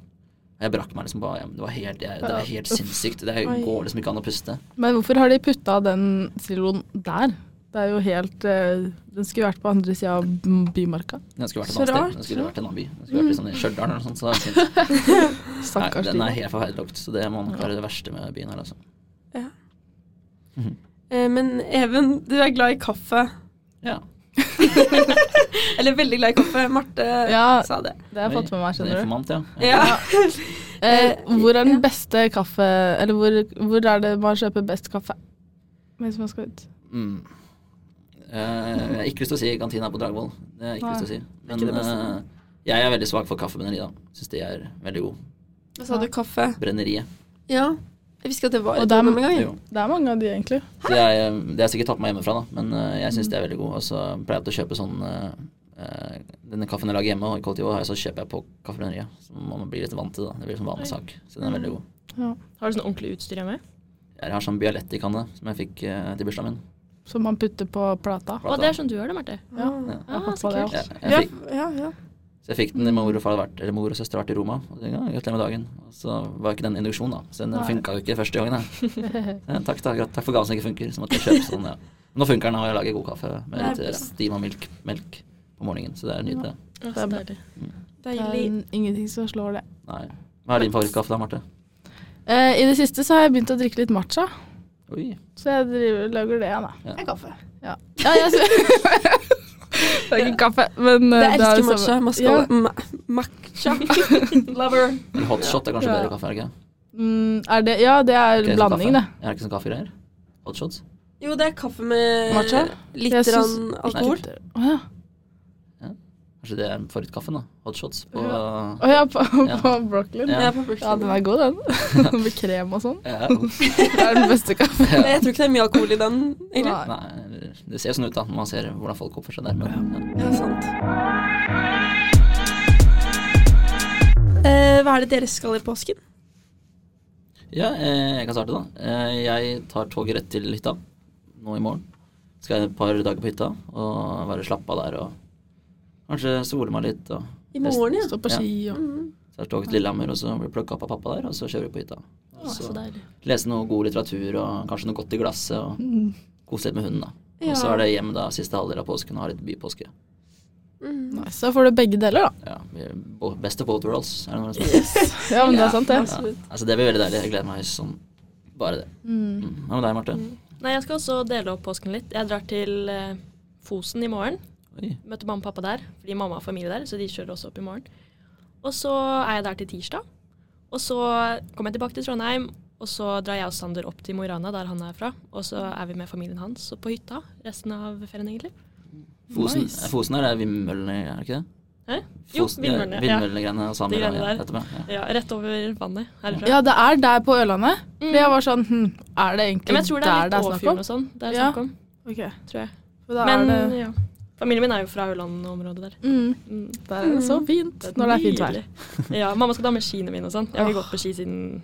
S2: Og Jeg brakk meg liksom bare hjem. Det var helt, jeg, det var helt sinnssykt. Det
S1: Oi.
S2: går liksom ikke an å puste.
S4: Men hvorfor har de putta den siloen der? Det er jo helt eh, Den skulle vært på andre sida av m- bymarka.
S2: Den skulle vært et
S1: Så
S2: annet
S1: rart.
S2: sted. Den skulle vært i en annen by. Den skulle vært i
S4: Mm.
S2: sånn i Stjørdal eller noe sånt.
S4: (laughs)
S2: Så det er fint. Nei,
S4: Stakkars
S2: den er
S4: silo.
S2: helt forferdelig lukt, så det må nok være det verste med byen her, altså.
S1: Eh, Men Even, du er glad i kaffe.
S2: Ja.
S1: Eller veldig glad i kaffe. Marte
S4: Ja.
S1: sa det.
S4: Det har jeg fått med meg, skjønner du.
S2: Informant, ja.
S1: Ja.
S4: Eh, hvor er den beste kaffe Eller hvor, hvor er det man kjøper best kaffe? Mens man skal ut.
S2: Mm. Eh, jeg har ikke lyst til å si kantina på Dragvoll. Det har jeg ikke
S4: Nei,
S2: lyst til å si. Men
S4: ikke det beste.
S2: eh, jeg er veldig svak for kaffebrenneri, da. Syns de er veldig god.
S1: Da sa du kaffe.
S2: Brenneriet.
S1: Ja. Jeg visste ikke at det var
S4: Og
S1: et
S4: dem-
S1: ord en gang. jeg.
S2: Jo.
S4: Det er mange av de, egentlig.
S2: Så jeg, eh, det har jeg sikkert tatt med meg hjemmefra, da. Men eh, jeg
S4: Mm.
S2: syns de er veldig gode. Og så pleier jeg til å kjøpe sånn eh, eh, Denne kaffen jeg lager hjemme, og i kollektivet har jeg, så kjøper jeg på kaffebrenneriet. Så man blir litt vant til det. da. Det blir liksom vanlig sak. Så den er veldig god.
S3: Har du sånn ordentlig utstyr hjemme?
S2: Jeg har sånn bialettikanne som jeg fikk eh, til bursdagen min.
S4: Som man putter på plata.
S3: Å, det er sånn du gjør det, Marte.
S4: Ja,
S2: Ja.
S4: jeg har
S3: Ah,
S4: fått
S3: så
S4: på det
S3: kult.
S2: Jeg,
S4: også.
S2: jeg,
S1: Ja,
S2: fikk,
S1: ja, ja.
S2: Så jeg fikk den da mor og, far hadde vært, eller mor og søster hadde vært i Roma. Og tenkte, ja, Gratulerer med dagen. Og så var ikke den induksjon, da. Så den
S4: Nei.
S2: funka jo ikke første gangen. da.
S4: (laughs)
S2: Ja, takk, takk, takk for gaven som ikke funker. Så måtte jeg kjøpe sånn, ja. Nå funker den, og jeg lager god kaffe med
S1: Det er
S2: litt stim og melk, melk på morgenen. Så det er nydelig.
S3: Ja,
S4: så
S3: deilig.
S4: Det
S1: Deilig.
S4: er ingenting som slår det.
S2: Nei. Hva er din favorittkaffe da, Marte?
S4: Eh, I det siste så har jeg begynt å drikke litt matcha,
S2: Oi.
S4: så jeg driver, lager det, jeg, da.
S1: Det er kaffe.
S4: Ja. Ja, jeg (laughs) sy- det er ikke kaffe, men eh,
S1: Jeg
S4: det er
S1: elsker
S4: det
S1: matcha.
S4: samme.
S1: Masca,
S4: Ja.
S1: ma- Matcha. (laughs) Lover.
S2: En hotshot er kanskje
S4: Ja.
S2: bedre kaffe, er det ikke?
S4: Mm, er det, ja, det er
S2: Ikke sånn
S4: blanding, det.
S2: kaffe. Jeg er ikke sånn kaffegreier. Hotshots?
S1: Jo, det er kaffe med
S4: Matcha?
S1: litt
S4: Jeg syns-
S1: rann alkohol.
S4: Eh, Å ja.
S2: Kanskje det er favorittkaffen, da. Hotshots på
S4: Å ja, på,
S2: Ja.
S4: (laughs) på Brooklyn.
S2: Ja.
S1: Ja, på
S4: Ja,
S1: Brooklyn.
S4: den (laughs)
S2: (laughs)
S4: er god, den. Med krem og sånn.
S2: Ja.
S4: Det er den beste kaffen.
S1: Men Jeg tror ikke det er mye alkohol i den, egentlig.
S4: Nei.
S2: Nei, det ser sånn ut, da, når man ser hvordan folk oppfører seg der. Men, ja.
S1: Det er sant. Eh, hva er det dere skal i påsken?
S2: Ja, eh, jeg kan starte da. Eh, jeg tar toget rett til hytta nå i morgen. Skal jeg et par dager på hytta og bare slappe av der og kanskje sole meg litt. Og
S1: I morgen, ja. Mm.
S4: Stå på ski og
S2: så er det toget til Lillehammer, og så blir plukka opp av pappa der, og så kjører vi på hytta.
S3: Å, så deilig.
S2: Lese noe god litteratur og kanskje noe godt i glasset og
S4: Mm,
S2: kose litt med hunden, da. Og så
S1: Ja.
S2: er det hjem da, siste halvdel av påsken og ha litt bypåske.
S1: Mm.
S4: Nice, Da får du begge deler, da.
S2: Ja, vi er bo- Best of both worlds, er det noe som heter.
S4: Ja, men det er sant, det.
S2: Ja,
S1: Absolutt.
S2: altså, det blir veldig deilig. Jeg gleder meg sånn bare det.
S4: Mm.
S2: Mm. Hva med deg, Marte?
S3: Nei, jeg skal også dele opp påsken litt. Jeg drar til eh, Fosen i morgen.
S2: Oi.
S3: Møter mamma og pappa der, fordi mamma har familie der, så de kjører også opp i morgen. Og så er jeg der til tirsdag. Og så kommer jeg tilbake til Trondheim, og så drar jeg og Sander opp til Mo i Rana, der han er fra. Og så er vi med familien hans og på hytta resten av ferien, egentlig.
S2: Fosen,
S4: Nice.
S2: Fosen er det vindmøllene, er det ikke det?
S3: Hæ? Jo,
S2: Fosen-
S3: vindmøllene. Ja.
S2: Vindmøllegreiene og samer.
S3: De greiene
S2: ja,
S3: der.
S2: etterpå, ja.
S3: ja, rett over vannet herfra.
S4: Ja, det er der på Ørlandet.
S3: Mm.
S4: For jeg var sånn hm, Er det egentlig
S3: Men jeg tror det er
S4: der det
S3: litt
S4: er snakk om?
S3: Åfjorden og sånn det er
S4: Ja.
S3: snakk om,
S4: Ok,
S3: tror jeg.
S4: for da
S3: Men
S4: er det,
S3: ja. Familien min er jo fra Ørland-området der.
S4: mm,
S3: Mm.
S4: der er det så fint når det er fint vær.
S3: Nydelig. Ja, mamma skal ta med skiene mine og sånn. Jeg har ikke gått på ski siden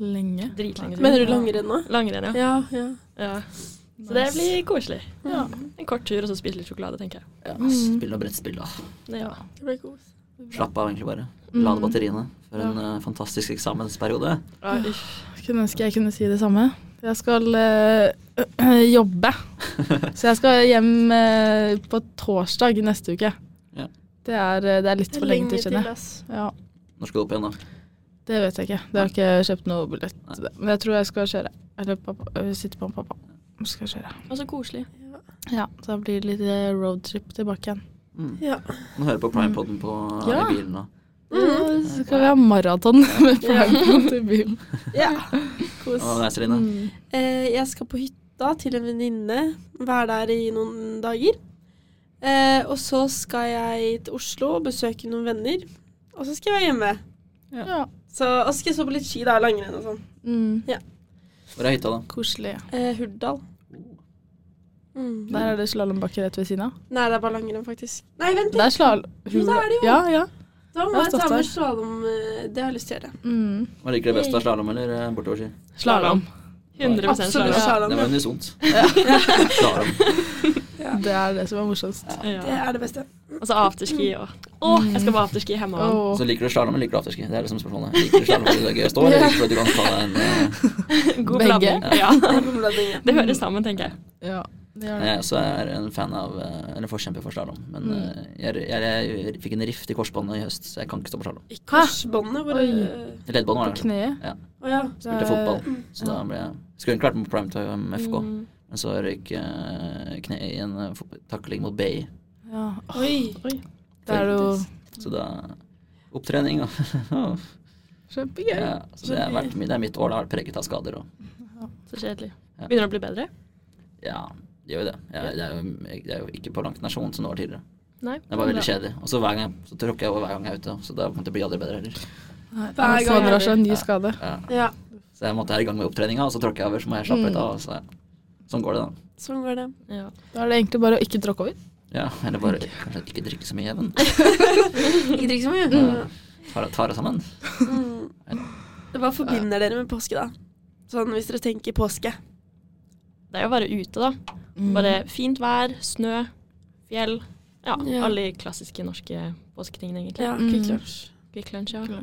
S4: Lenge.
S3: Dritlenge.
S1: Mener du langrenn nå?
S3: Langrenn, ja.
S1: Ja, ja.
S3: ja. Så det blir koselig. En kort tur og så spise litt sjokolade, tenker jeg.
S2: Ja,
S4: Mm.
S2: Spill og brettspill, da.
S3: Det, ja.
S1: Det blir kos.
S2: Slapp av, egentlig bare.
S4: Mm.
S2: Lade batteriene for en eh, fantastisk eksamensperiode.
S3: Ja, uff.
S4: Kunne ønske jeg kunne si det samme. Jeg skal eh, (clears throat) jobbe. Så jeg skal hjem eh, på torsdag neste uke.
S2: Ja.
S4: Det, er, eh, det er litt for lenge til, skjønner jeg.
S1: ass.
S4: Ja,
S2: Når skal du opp igjen, da?
S4: det vet jeg ikke. Det har ikke kjøpt noe billett. til det. Men jeg tror jeg skal kjøre. Eller pappa, eh, sitte på med pappa. Så Skal jeg kjøre.
S3: Og så koselig.
S4: Ja, så da blir det litt eh, roadtrip tilbake igjen.
S2: Mm.
S1: Ja.
S2: Kan høre på Primepoden på eh,
S4: Ja.
S2: i bilen. da.
S4: Ja, så skal vi ha maraton (laughs) med Pride til byen.
S1: ja. Kos.
S2: Og deg, Celine.
S4: Mm.
S1: Eh, jeg skal på hytta til en venninne. Være der i noen dager. Eh, og så skal jeg til Oslo og besøke noen venner. Og så skal jeg være hjemme.
S4: Ja.
S1: Så, og så skal jeg stå på litt ski, da. Langrenn og sånn.
S4: Mm.
S2: Hvor er hytta, da?
S4: Koselig.
S1: Eh, Hurdal. Mm.
S4: Der er det slalåmbakke rett ved siden av.
S1: Nei, det er bare langrenn, faktisk. Nei, vent
S4: Det
S1: litt.
S4: er slalåm...
S1: Jo, det er det jo.
S4: Ja, ja.
S1: Da
S4: jeg
S1: må
S4: har
S1: jeg ta
S4: stått
S1: med
S4: der.
S1: slalåm. eh, Det har jeg lyst til å gjøre.
S4: Mm.
S2: Hva liker du best av slalåm eller eh, bortoverski?
S4: Slalåm.
S3: 100
S1: Absolutt
S3: slalom.
S2: Det
S1: slalåm.
S2: var
S1: ja.
S2: unisont. Slalåm.
S4: Det er det som er morsomst.
S1: Det
S3: Ja.
S1: er det beste.
S3: Og så afterski og Å, jeg skal på afterski hjemme òg.
S4: Åh.
S2: Så liker du slalåm eller liker du afterski? Det er liksom spørsmålet. Liker du slalåm fordi det er gøy å stå, eller liker du at du kan ta deg en eh,
S3: God
S4: Mm. Begge.
S3: blanding. Ja.
S1: (laughs) Det er godblanding, ja.
S3: Det høres sammen, tenker jeg.
S4: Ja, det gjør det.
S2: Jeg også er en fan av eh, Eller forkjemper for slalåm.
S3: Mm.
S2: Men eh, jeg, jeg, jeg fikk en rift i korsbåndet i høst, så jeg kan ikke stå på slalåm.
S1: I korsbåndet hvor
S4: Oi.
S1: eh,
S2: Leddbånd var det.
S4: Kneet.
S1: Å ja.
S2: Spilte
S4: Det-
S2: fotball. Så da ble jeg Skulle egentlig vært med på primetime FK,
S3: Mm.
S2: men så røyk eh, kneet i en eh, fot- takling mot Bay.
S4: Ja.
S1: Oi.
S4: Det er jo
S2: Så da Opptrening og (laughs)
S4: kjempegøy.
S2: ja, Så det, har vært, mye- det er mitt år, det har vært preget av skader og
S3: Så kjedelig.
S2: Ja.
S3: Begynner det å bli bedre?
S2: Ja, det gjør jo det. Jeg, det, er jo, jeg, det er jo ikke på langt nær sånn som det var tidligere.
S3: Nei.
S2: Det var veldig kjedelig. Og så hver gang jeg- så tråkker jeg over hver gang jeg er ute, så da måtte det bli aldri bedre heller.
S1: Hver
S4: Hver
S1: gang
S4: gang
S1: er
S4: drar seg sånn en
S2: Ja.
S4: ny skade.
S2: Ja.
S1: Ja,
S2: Så jeg måtte være i gang med opptreninga, og så tråkker jeg over, så må jeg slappe litt av. og Så, sånn går det, da.
S1: sånn går det.
S3: Ja.
S4: Da er det egentlig bare å ikke tråkke over.
S2: Ja, eller bare kanskje ikke drikke så mye, men
S1: Ikke drikk så mye.
S2: ta det- ta det sammen.
S1: Mm. Hva forbinder dere med påske, da? Sånn hvis dere tenker påske.
S3: Det er jo å være ute, da. Mm.
S1: Mm.
S3: Bare fint vær, snø, fjell. Ja,
S1: Ja.
S3: alle de klassiske norske påsketingene, egentlig.
S1: Ja,
S4: Mm.
S1: Quick Lunch.
S3: Quick lunch, ja.
S2: Ja,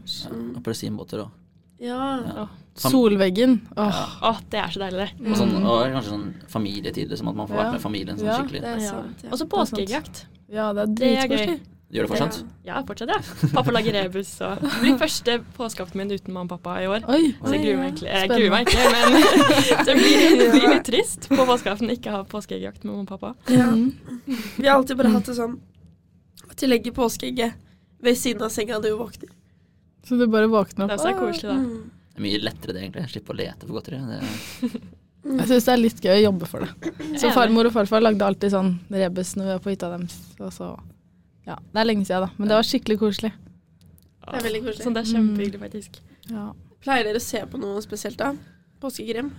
S2: Appelsinbåter og
S1: Ja.
S2: ja.
S4: Solveggen. Åh.
S3: Å, det er så deilig, det.
S2: Og, sånn, og kanskje sånn familietid, liksom, at man får vært med familien sånn
S4: Ja.
S1: Det
S2: skikkelig.
S1: er
S3: Ja.
S1: sant. Ja.
S3: Og så
S4: er sant.
S3: påskeeggjakt.
S4: Ja, det er
S3: Det er gøy.
S4: dritkoselig.
S2: Gjør det fortsatt?
S3: Ja, fortsatt, ja. Pappa lager rebus og Det
S1: (laughs)
S3: blir første påskeaften min uten mamma og pappa i år.
S4: Oi.
S3: Så jeg gruer meg egentlig. Jeg
S4: Spennende.
S3: gruer meg
S1: (laughs)
S3: ikke, men (laughs) det blir, det blir litt trist på påskeaften ikke ha påskeeggjakt med mamma og pappa.
S1: Ja.
S4: Mm.
S1: Vi har alltid bare hatt det sånn at de legger påskeegget ved siden av senga du våkner.
S4: Så du bare våkner
S3: Det
S4: opp.
S3: også er koselig, da.
S1: Mm.
S2: Det er mye lettere det, egentlig. Slippe å lete for godteri. Det,
S4: Åh. Jeg syns det er litt gøy å jobbe for det. Så farmor og farfar lagde alltid sånn rebus når vi var på hytta deres. Og så Ja, det er lenge siden, da. Men det var skikkelig koselig.
S1: Det er veldig koselig. Mm.
S3: Sånn, det er kjempehyggelig, faktisk.
S4: Ja.
S1: Pleier dere å se på noe spesielt, da? Påskekrim?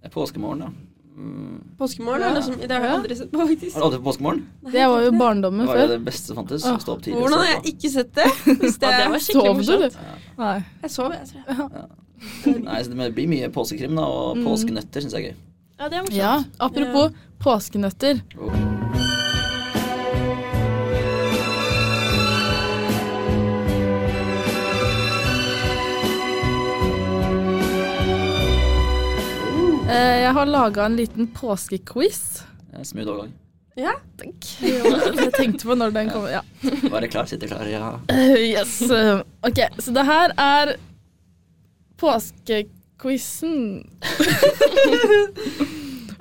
S2: det er påskemorgen, da. Mm.
S1: Påskemorgen?
S4: Ja.
S1: er noe som- Det har jeg
S4: Ja.
S1: aldri sett på, faktisk.
S2: Har du aldri vært på påskemorgen?
S4: Det var jo
S2: Det
S4: barndommen
S2: var jo
S4: før.
S2: det beste som fantes.
S4: Åh.
S2: Stå opp tidlig. og
S1: Hvordan har
S2: se på.
S1: jeg ikke sett det? Hvis det
S3: Ja, det
S1: er...
S3: var skikkelig
S4: Sov du,
S3: morsomt.
S4: du? Nei.
S1: Jeg sov, jeg tror jeg.
S2: Nei, så det blir mye påskekrim, da, og påskenøtter syns jeg er gøy.
S3: Ja, det er morsomt.
S4: Ja, apropos påskenøtter. Eh, Jeg har laga en liten påskequiz.
S2: Ja, Smooth overgang.
S1: Ja.
S4: (laughs) Jeg tenkte på når den kom. Ja.
S2: Være klar, sitte klar, ja.
S4: Eh, Yes. eh, Ok, så det her er påskequizen.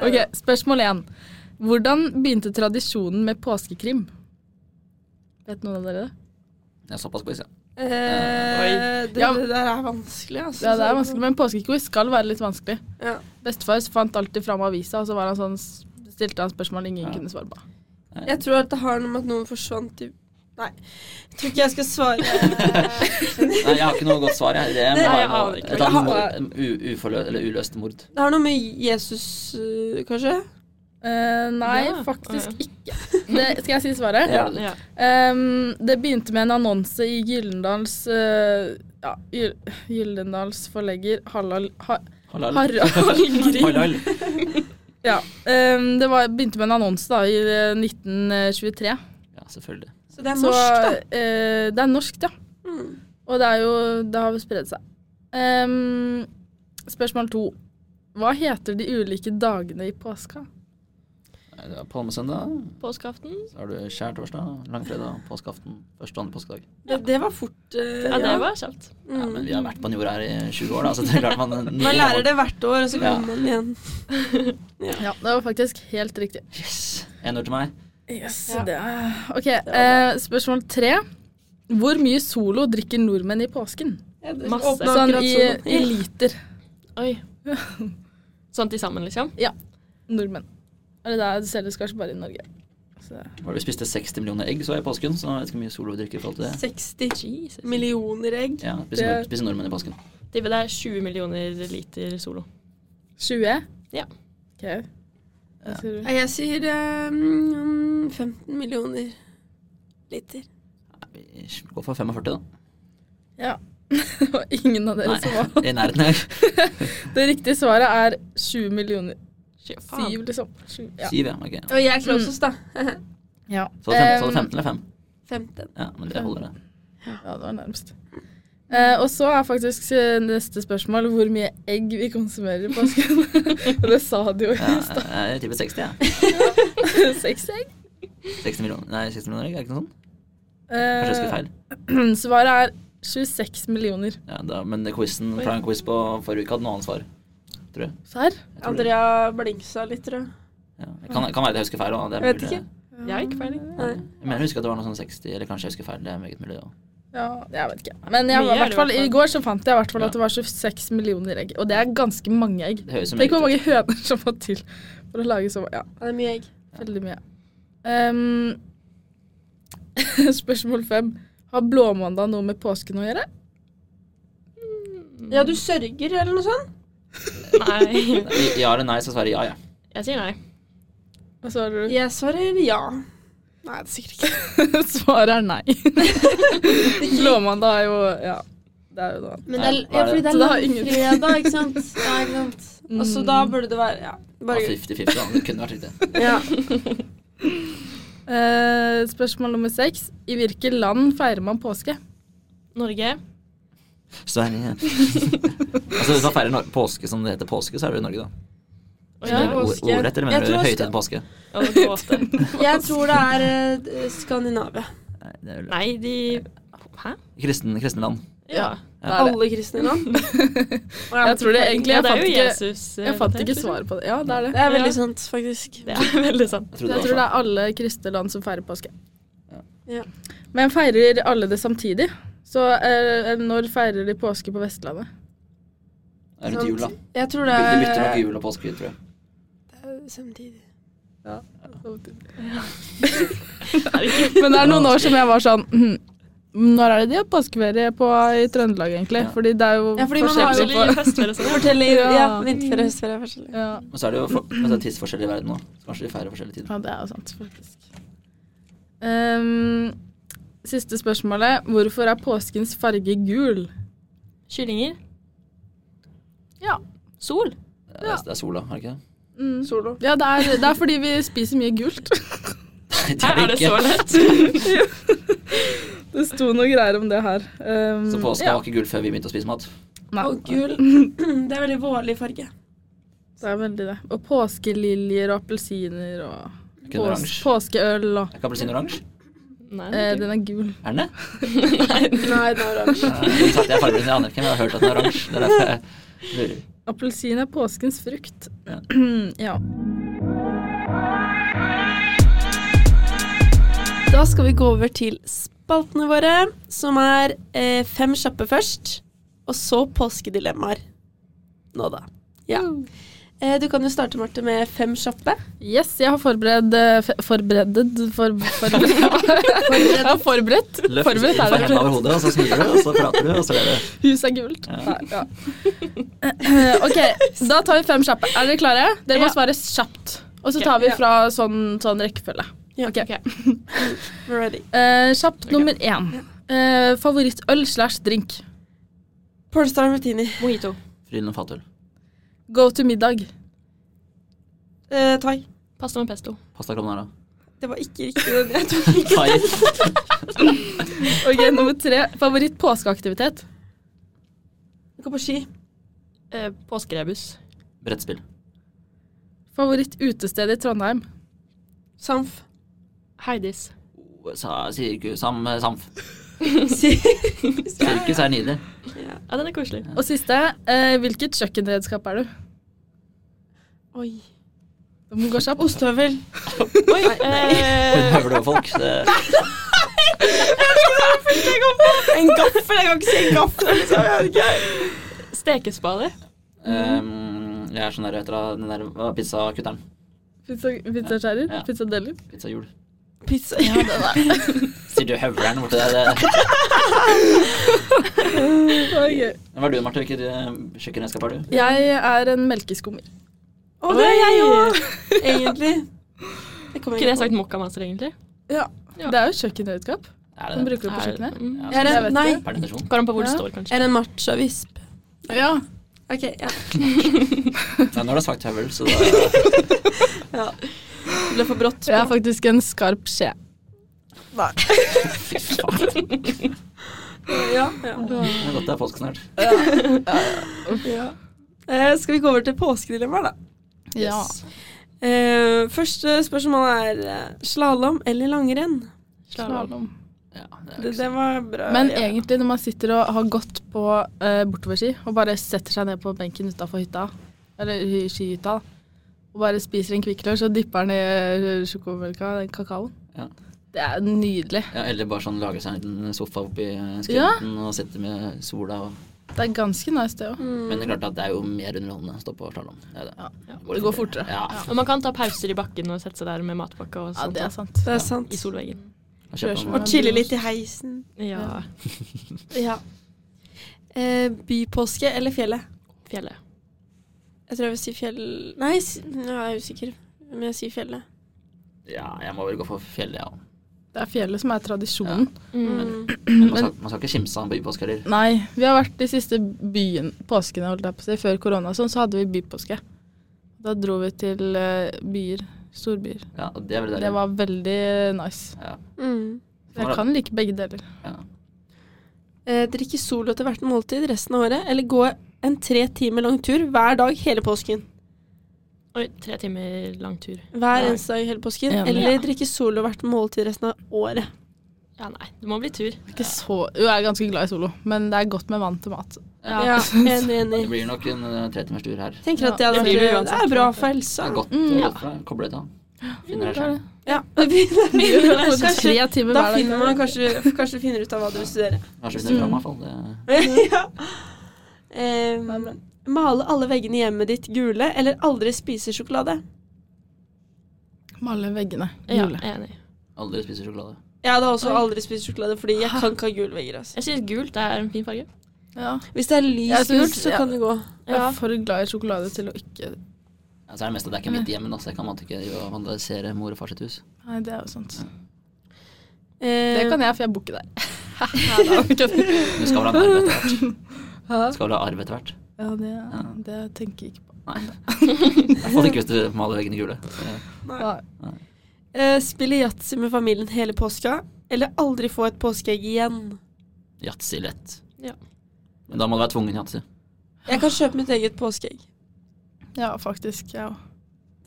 S4: Ok, spørsmål én. Hvordan begynte tradisjonen med påskekrim? Vet noen av dere det?
S2: Det er såpass quiz, ja.
S1: Eh, det,
S4: Ja.
S1: det der er vanskelig, altså.
S4: Ja, det er vanskelig, men påskequiz skal være litt vanskelig.
S1: Ja.
S4: Bestefar fant alltid fram avisa, og så var han sånn, stilte han spørsmål ingen kunne svare på.
S1: Jeg tror at det har noe med at noen forsvant i Nei, jeg tror ikke jeg skal
S4: (laughs)
S1: svare.
S2: Nei, jeg har ikke noe godt svar, jeg. Det
S3: Nei,
S2: må
S3: jeg
S2: være
S3: aner
S2: noe-
S3: ikke.
S2: et eller annet mord- en u- uforlø- eller uløst mord.
S1: Det har noe med Jesus øh, kanskje?
S4: Eh, nei,
S3: Ja. Å,
S4: faktisk ikke. Det, skal jeg si svaret?
S2: Ja.
S3: Ja.
S4: Ehm, det begynte med en annonse i Gyllendals eh, ja, Gyl- Gyldendals forlegger Hallal... Ha,
S2: Halal.
S4: Harald Grieg.
S2: Halal.
S4: Ja. ehm, det var, begynte med en annonse da, i eh, 1923.
S2: Ja, selvfølgelig.
S1: Så det er
S4: Så,
S1: norsk, da.
S4: eh, det er norsk, ja.
S1: Mm.
S4: Og det, er jo, det har spredd seg. Ehm, spørsmål to. Hva heter de ulike dagene i påska?
S2: Nei, det er Palmesøndag,
S3: Påskeaften.
S2: så har du skjærtorsdag, langfredag, påskeaften, første og andre påskedag.
S1: Det, det var fort. eh,
S3: Ja, det var kjapt.
S1: Mm.
S2: Ja, men vi har vært på den jorda her i 20 år, da, så det er klart man
S1: Man lærer det hvert år, og så
S2: Ja.
S1: kommer man igjen.
S4: Ja, det var faktisk helt riktig.
S2: Yes! 1-0 til meg.
S4: Yes,
S1: Ja.
S4: det er... Ok, eh, spørsmål tre. Hvor mye solo drikker nordmenn i påsken?
S1: Ja, det-
S3: Masse.
S1: åpner
S4: Sånn
S1: akkurat
S4: i,
S1: sånn.
S4: i liter.
S3: Oi. Sånn til sammen, liksom?
S4: Nordmenn. Eller det er- det selges kanskje bare i Norge. Så,
S2: Var det Vi spiste 60 millioner egg så i påsken, så jeg vet ikke hvor mye solo vi drikker i forhold til det.
S1: 60
S3: Jesus.
S1: millioner egg.
S2: Ja, spiser,
S4: Det-
S2: spiser nordmenn i påsken.
S3: Tipper det er 20 millioner liter Solo.
S4: 20?
S3: Ja.
S4: Ok. Hva sier du? (laughs)
S1: Nei, Jeg sier eh, mm, 15 millioner liter.
S2: Nei, vi går for 45, da.
S4: Ja. Det var ingen av dere
S2: Nei,
S4: som
S2: (laughs)
S4: var
S2: i nærheten her.
S4: Det riktige svaret er 7 millioner.
S3: Fy faen.
S4: Syv, liksom. Sju, ja.
S2: Siv, ja. ok.
S1: Og jeg er closest, da. (laughs)
S4: Ja.
S2: Så det er 15 eller 5?
S1: 15.
S2: Ja, men det holder, det.
S4: ja, det var nærmest. Eh, og så er faktisk eh, neste spørsmål hvor mye egg vi konsumerer i påsken. (laughs) og det sa du jo i
S2: Ja,
S4: stad. (laughs)
S2: jeg tipper 60, jeg.
S4: Seks egg.
S2: 60 millioner, nei, 60 millioner egg, er det ikke noe sånt? Kanskje jeg husker
S4: Eh,
S2: feil.
S4: svaret er 26 millioner.
S2: Ja, da, men quizen fra en quiz på forrige uke hadde noe annet svar. Tror jeg. jeg
S4: Serr?
S2: tror det.
S1: Andrea blingsa litt, tror jeg.
S2: Ja, det kan, kan være at jeg husker feil. også, det er
S1: Jeg vet
S2: mulig.
S1: ikke.
S3: Jeg har ikke peiling.
S1: Nei.
S2: Jeg mener jeg husker at det var noe sånn 60, eller kanskje jeg husker feil. Det er meget mulig. Ja.
S4: Ja, jeg vet ikke. Men jeg,
S3: Mye
S4: var i
S3: er
S4: hvert
S3: det i
S4: fall,
S3: hvert fall.
S4: i går så fant jeg i hvert fall
S2: Ja.
S4: at det var 26 millioner egg. Og det er ganske mange egg.
S2: Det høres jo meget
S4: Tenk
S2: ut.
S4: hvor mange høner som må til for å lage så
S1: Ja,
S4: Ja,
S1: det er mye egg.
S4: veldig mye. Ehm, (laughs) spørsmål fem. Har blåmandag noe med påsken å gjøre?
S1: Ja, du sørger, eller noe sånt?
S3: Nei. (laughs)
S2: I- Ja eller nei, så svarer jeg ja, ja.
S3: Jeg sier nei.
S4: Hva svarer du?
S1: Jeg svarer ja. Nei, det er sikkert ikke.
S4: (laughs) Svaret er nei. blåmandag er jo Ja, det er jo noe annet.
S1: Men
S2: Nei,
S1: det er,
S2: hva
S1: ja,
S2: er
S1: fordi det er
S2: det?
S4: Så det har ingen-
S1: langfredag, ikke sant? Ja, ikke sant? Og så da burde det være Ja.
S2: Ja,
S1: Bare
S2: 50-50, da. Det kunne vært riktig.
S1: ja.
S4: Eh, spørsmål nummer seks. I hvilket land feirer man påske?
S3: Norge.
S2: Sverige. altså hvis man feirer Nor- påske som det heter påske, så er det jo Norge, da.
S3: Og
S1: Ja,
S2: Mener du
S1: påske.
S2: ord- Ordrett, eller
S1: Jeg
S2: mener du
S1: tror-
S2: høytiden påske?
S3: Og gåte.
S1: Jeg tror det er eh, Skandinavia.
S2: Nei, det er vel
S3: Nei, de Hæ?
S2: kristen, kristne land.
S3: Ja.
S4: Det er det.
S1: Alle kristne land.
S4: Jeg tror det egentlig
S3: ja det er
S4: Jeg fant
S3: jo
S4: ikke,
S3: Jesus. eh,
S4: jeg fant ikke
S3: datert,
S4: svar på det. Ja, det er det.
S1: Det er veldig
S3: Ja.
S1: sant, faktisk.
S3: liksom. Det er veldig sant.
S2: Jeg
S4: Så
S2: trodde
S4: jeg
S2: det
S4: tror det
S2: var
S4: er alle kristne land som feirer påske.
S1: Ja.
S4: Men feirer alle det samtidig? Så eh, når feirer de påske på Vestlandet?
S2: sånn. Det er rundt jul, da.
S1: Jeg tror det
S2: Du bytter nok
S1: er Eh,
S2: jul og påske, tror jeg.
S1: samtidig.
S3: (laughs)
S4: Men det er noen år som jeg var sånn hm, Når er det de har påskeferie på, i Trøndelag, egentlig?
S2: Ja.
S4: Fordi det er jo
S1: Ja, fordi man har jo
S4: forskjellig på
S3: Forskjellig høstferie og sånn.
S1: Fortell i
S4: Ja.
S1: ja, vinterferie, høstferie er forskjellig.
S4: ja.
S2: Men så er det jo for, men så er det tidsforskjell i verden nå. Så kanskje de feirer forskjellige tider.
S4: ja, det er jo sant, faktisk. Ehm, siste spørsmålet. Hvorfor er påskens farge gul?
S3: Kyllinger.
S4: Ja.
S3: Sol.
S2: Det er, det er sola, er det ikke det?
S4: Mm.
S1: Solo.
S4: Ja, det er, det er fordi vi spiser mye gult.
S2: Nei,
S3: Her er det så lett.
S4: (laughs) Det sto noe greier om det her. Ehm,
S2: Så påska
S4: ja.
S2: var ikke gull før vi begynte å spise mat.
S4: Nei,
S1: Og gul. Det er veldig vårlig farge.
S4: det er veldig det. Og påskeliljer og appelsiner og
S2: Kun
S4: pås-
S2: oransje.
S4: påskeøl og
S2: Er ikke appelsin oransje?
S3: Nei,
S4: eh,
S3: det
S4: Den
S3: er
S4: er gul.
S2: Er den det?
S1: Nei, det er oransje.
S2: Nei, Som sagt, jeg er fargeblind, jeg aner ikke, men jeg har hørt at den er oransje. Det er derfor jeg lurer.
S4: Appelsin er påskens frukt.
S2: Ja.
S4: (clears throat) ja.
S1: Da skal vi gå over til spaltene våre, som er eh, fem kjappe først, og så påskedilemmaer. Nå da. Ja. Eh, du kan jo starte, Marte, med fem kjappe.
S4: Yes, jeg har forberedt eh, fe- Forberedet for, forberedt. Jeg har (laughs) forberedt.
S2: Løft
S4: Forberedt
S2: du får
S4: er det.
S2: hendene over hodet, og så smiler du, og så prater du, og så ler du.
S4: Huset er gult.
S2: Ja.
S4: Nei, ja. (laughs) ok, da tar vi fem kjappe. Er dere klare? Dere må
S3: Ja.
S4: svare kjapt. Og så
S3: Ok,
S4: tar vi
S1: ja.
S4: fra sånn, sånn rekkefølge.
S1: Ja,
S4: Ok.
S3: ok.
S1: We're ready.
S4: Eh, kjapt nummer én. Eh, favorittøl slash drink.
S1: Pearlstar martini.
S3: Mojito.
S2: Frydenlund fatøl.
S4: Go to middag.
S1: Eh, thai.
S3: Pasta med pesto.
S2: Pasta carbonara.
S1: Det var ikke riktig. den Jeg tok ikke.
S2: (laughs) Thai.
S4: Ok, Nummer tre. Favoritt påskeaktivitet.
S1: Gå på ski.
S3: Eh, påskerebus.
S2: Brettspill.
S4: Favoritt utested i Trondheim.
S1: Samf.
S3: Heidis.
S2: Sa, sirkus. Sam, samf.
S1: Si.
S2: Sirkus er nydelig.
S3: Ja, den er koselig.
S4: Og siste. Eh, hvilket kjøkkenredskap er du?
S1: Oi.
S4: Det må gå kjapt.
S1: Ostehøvel.
S4: (laughs)
S3: Oi, eh,
S2: Hun høvler over folk. Det,
S1: En gaffel! Jeg kan ikke si en gaffel. Liksom. Jeg vet ikke.
S3: stekespade.
S2: ehm, jeg er sånn der, hva heter det, den der hva, pizzakutteren.
S4: Pizza, pizzaskjærer?
S2: Ja.
S4: Pizzadeller?
S2: Pizzahjul.
S1: Pizza.
S2: Sier du høvleren borti der? det-
S4: Ok.
S2: Hva er du, Marte? Hvilket eh, kjøkkenredskap er du?
S4: Jeg er en melkeskummer.
S1: Å, det er jeg òg! Egentlig. Det kommer
S3: Kunne jeg
S1: jeg
S3: sagt mokkamaster, egentlig?
S4: Ja. Det er jo kjøkkenredskap.
S2: Er
S4: Den
S2: det det?
S4: bruker du på
S3: Er-
S4: kjøkkenet.
S3: Mm.
S1: Er det-
S4: Jeg vet
S1: nei.
S4: det.
S2: Per definisjon.
S3: (laughs) Går an på hvor det
S4: Ja.
S3: står, kanskje.
S1: Er det en machavisp?
S4: Ja.
S1: Ok, ja.
S2: Nei, nå har du sagt høvel, så (laughs) da
S1: ja. Det ble for brått.
S4: Jeg er faktisk en skarp skje.
S2: Fy faen.
S1: Ja, ja.
S2: Det er godt det er påske snart.
S1: Eh, skal vi gå over til påskedilemmaer, da?
S4: Ja.
S2: Yes.
S1: Eh, første spørsmål er eh, slalåm eller langrenn?
S3: Slalom.
S2: Ja, det
S1: Det,
S2: er
S1: det
S2: ikke så-
S1: var bra.
S4: Men
S1: Eh, ja.
S4: egentlig når man sitter og har gått på eh, bortoverski og bare setter seg ned på benken utafor hytta, eller hy- skihytta, da, og bare spiser en Kvikk Lunsj og dypper den i eh, sjokomelka, den kakaoen
S2: Ja.
S4: Det er nydelig.
S2: ja, eller bare sånn lage seg en liten sofa oppi skrenten og sitte med sola og
S4: Det er ganske nice, det òg.
S2: Men det er klart at det er jo mer underholdende å stå på slalåm. Det, er det.
S4: Det går fortere.
S2: Ja.
S3: Og man kan ta pauser i bakken og sette seg der med matpakke og
S4: Ja,
S3: sånt.
S4: det
S3: da.
S4: er sant.
S1: Det er sant.
S3: I solveggen.
S2: Og kjøpe en-
S4: Kjørsmål.
S1: Og chille litt i heisen.
S4: Mm.
S3: Ja.
S1: Ja. Eh, bypåske eller fjellet?
S3: Fjellet.
S1: Jeg tror jeg vil si fjell... Nei, s- ja, jeg er usikker. Men jeg sier fjellet.
S2: Ja, jeg må vel gå for fjellet, ja.
S4: Det er fjellet som er tradisjonen.
S3: Mm.
S1: Mm.
S2: Men man skal, man skal ikke kimse av en bypåske heller.
S4: Nei, vi har vært de siste byen, påskene, holdt jeg på å si, før korona og sånn, så hadde vi bypåske. Da dro vi til eh, byer, storbyer.
S2: Ja, og det er vel det.
S4: Det var veldig nice.
S2: Ja.
S1: Mm.
S4: Jeg kan like begge deler.
S2: Ja.
S1: Eh, drikke solo til hvert måltid resten av året, eller gå en tre timer lang tur hver dag hele påsken.
S3: Oi, tre timer lang tur.
S1: Hver
S2: Ja.
S1: eneste dag hele påsken.
S4: Enig.
S1: Eller
S3: Ja.
S1: drikke solo hvert måltid resten av året.
S3: Ja, nei. Det må bli tur.
S4: Jeg er Ikke så, jo, jeg er ganske glad i solo, men det er godt med vann til
S1: (laughs)
S4: mat. (laughs)
S1: Ja,
S3: Ja.
S1: enig, enig.
S2: Det blir nok en eh, tretimers tur her. Det
S1: Tenker at det hadde
S3: Ja, det blir det
S1: vært Det
S3: uansett.
S1: er bra for helsa.
S2: er godt
S4: Mm,
S2: å
S4: ja.
S2: gå fra. Koble litt av. Finner deg selv.
S1: Ja. Kanskje,
S4: Tre timer
S1: da
S4: hver dag.
S1: finner man kanskje, kanskje finner ut av hva du vil studere.
S2: Kanskje vi finner fram, i hvert fall. Det-
S1: ja. Em, male alle veggene i hjemmet ditt gule, eller aldri spise sjokolade.
S4: Male veggene.
S3: Ja,
S4: Jule.
S3: enig.
S2: Aldri spiser sjokolade.
S1: Jeg hadde også aldri spist sjokolade, fordi jeg kan ikke ha gule vegger. Altså.
S3: Jeg syns gult er en fin farge.
S4: Ja.
S1: Hvis det er
S4: Jeg
S1: lys
S4: synes-
S1: gult, så
S4: ja.
S1: kan det gå.
S4: Jeg er for glad i sjokolade til å ikke
S2: Ja, så er det meste det er ikke
S3: Mm.
S2: mitt hjem, da, så jeg kan på en måte ikke drive og vandalisere mor og far sitt hus.
S4: Nei, det er jo sant. Det
S1: Eh,
S4: kan jeg, for jeg bor ikke
S1: (laughs)
S4: der.
S2: Du skal vel ha en arv etter hvert?
S4: Ja,
S2: Skal vel ha arv etter hvert?
S4: det, det tenker jeg ikke på.
S2: Nei. (laughs) I hvert fall ikke hvis du maler veggene gule. Det-
S1: nei.
S4: Nei.
S1: Eh, spille yatzy med familien hele påska, eller aldri få et påskeegg igjen.
S2: Yatzy lett.
S3: Ja.
S2: Men da må det være tvungen yatzy.
S1: Jeg kan kjøpe mitt eget påskeegg.
S4: Ja, faktisk. Ja.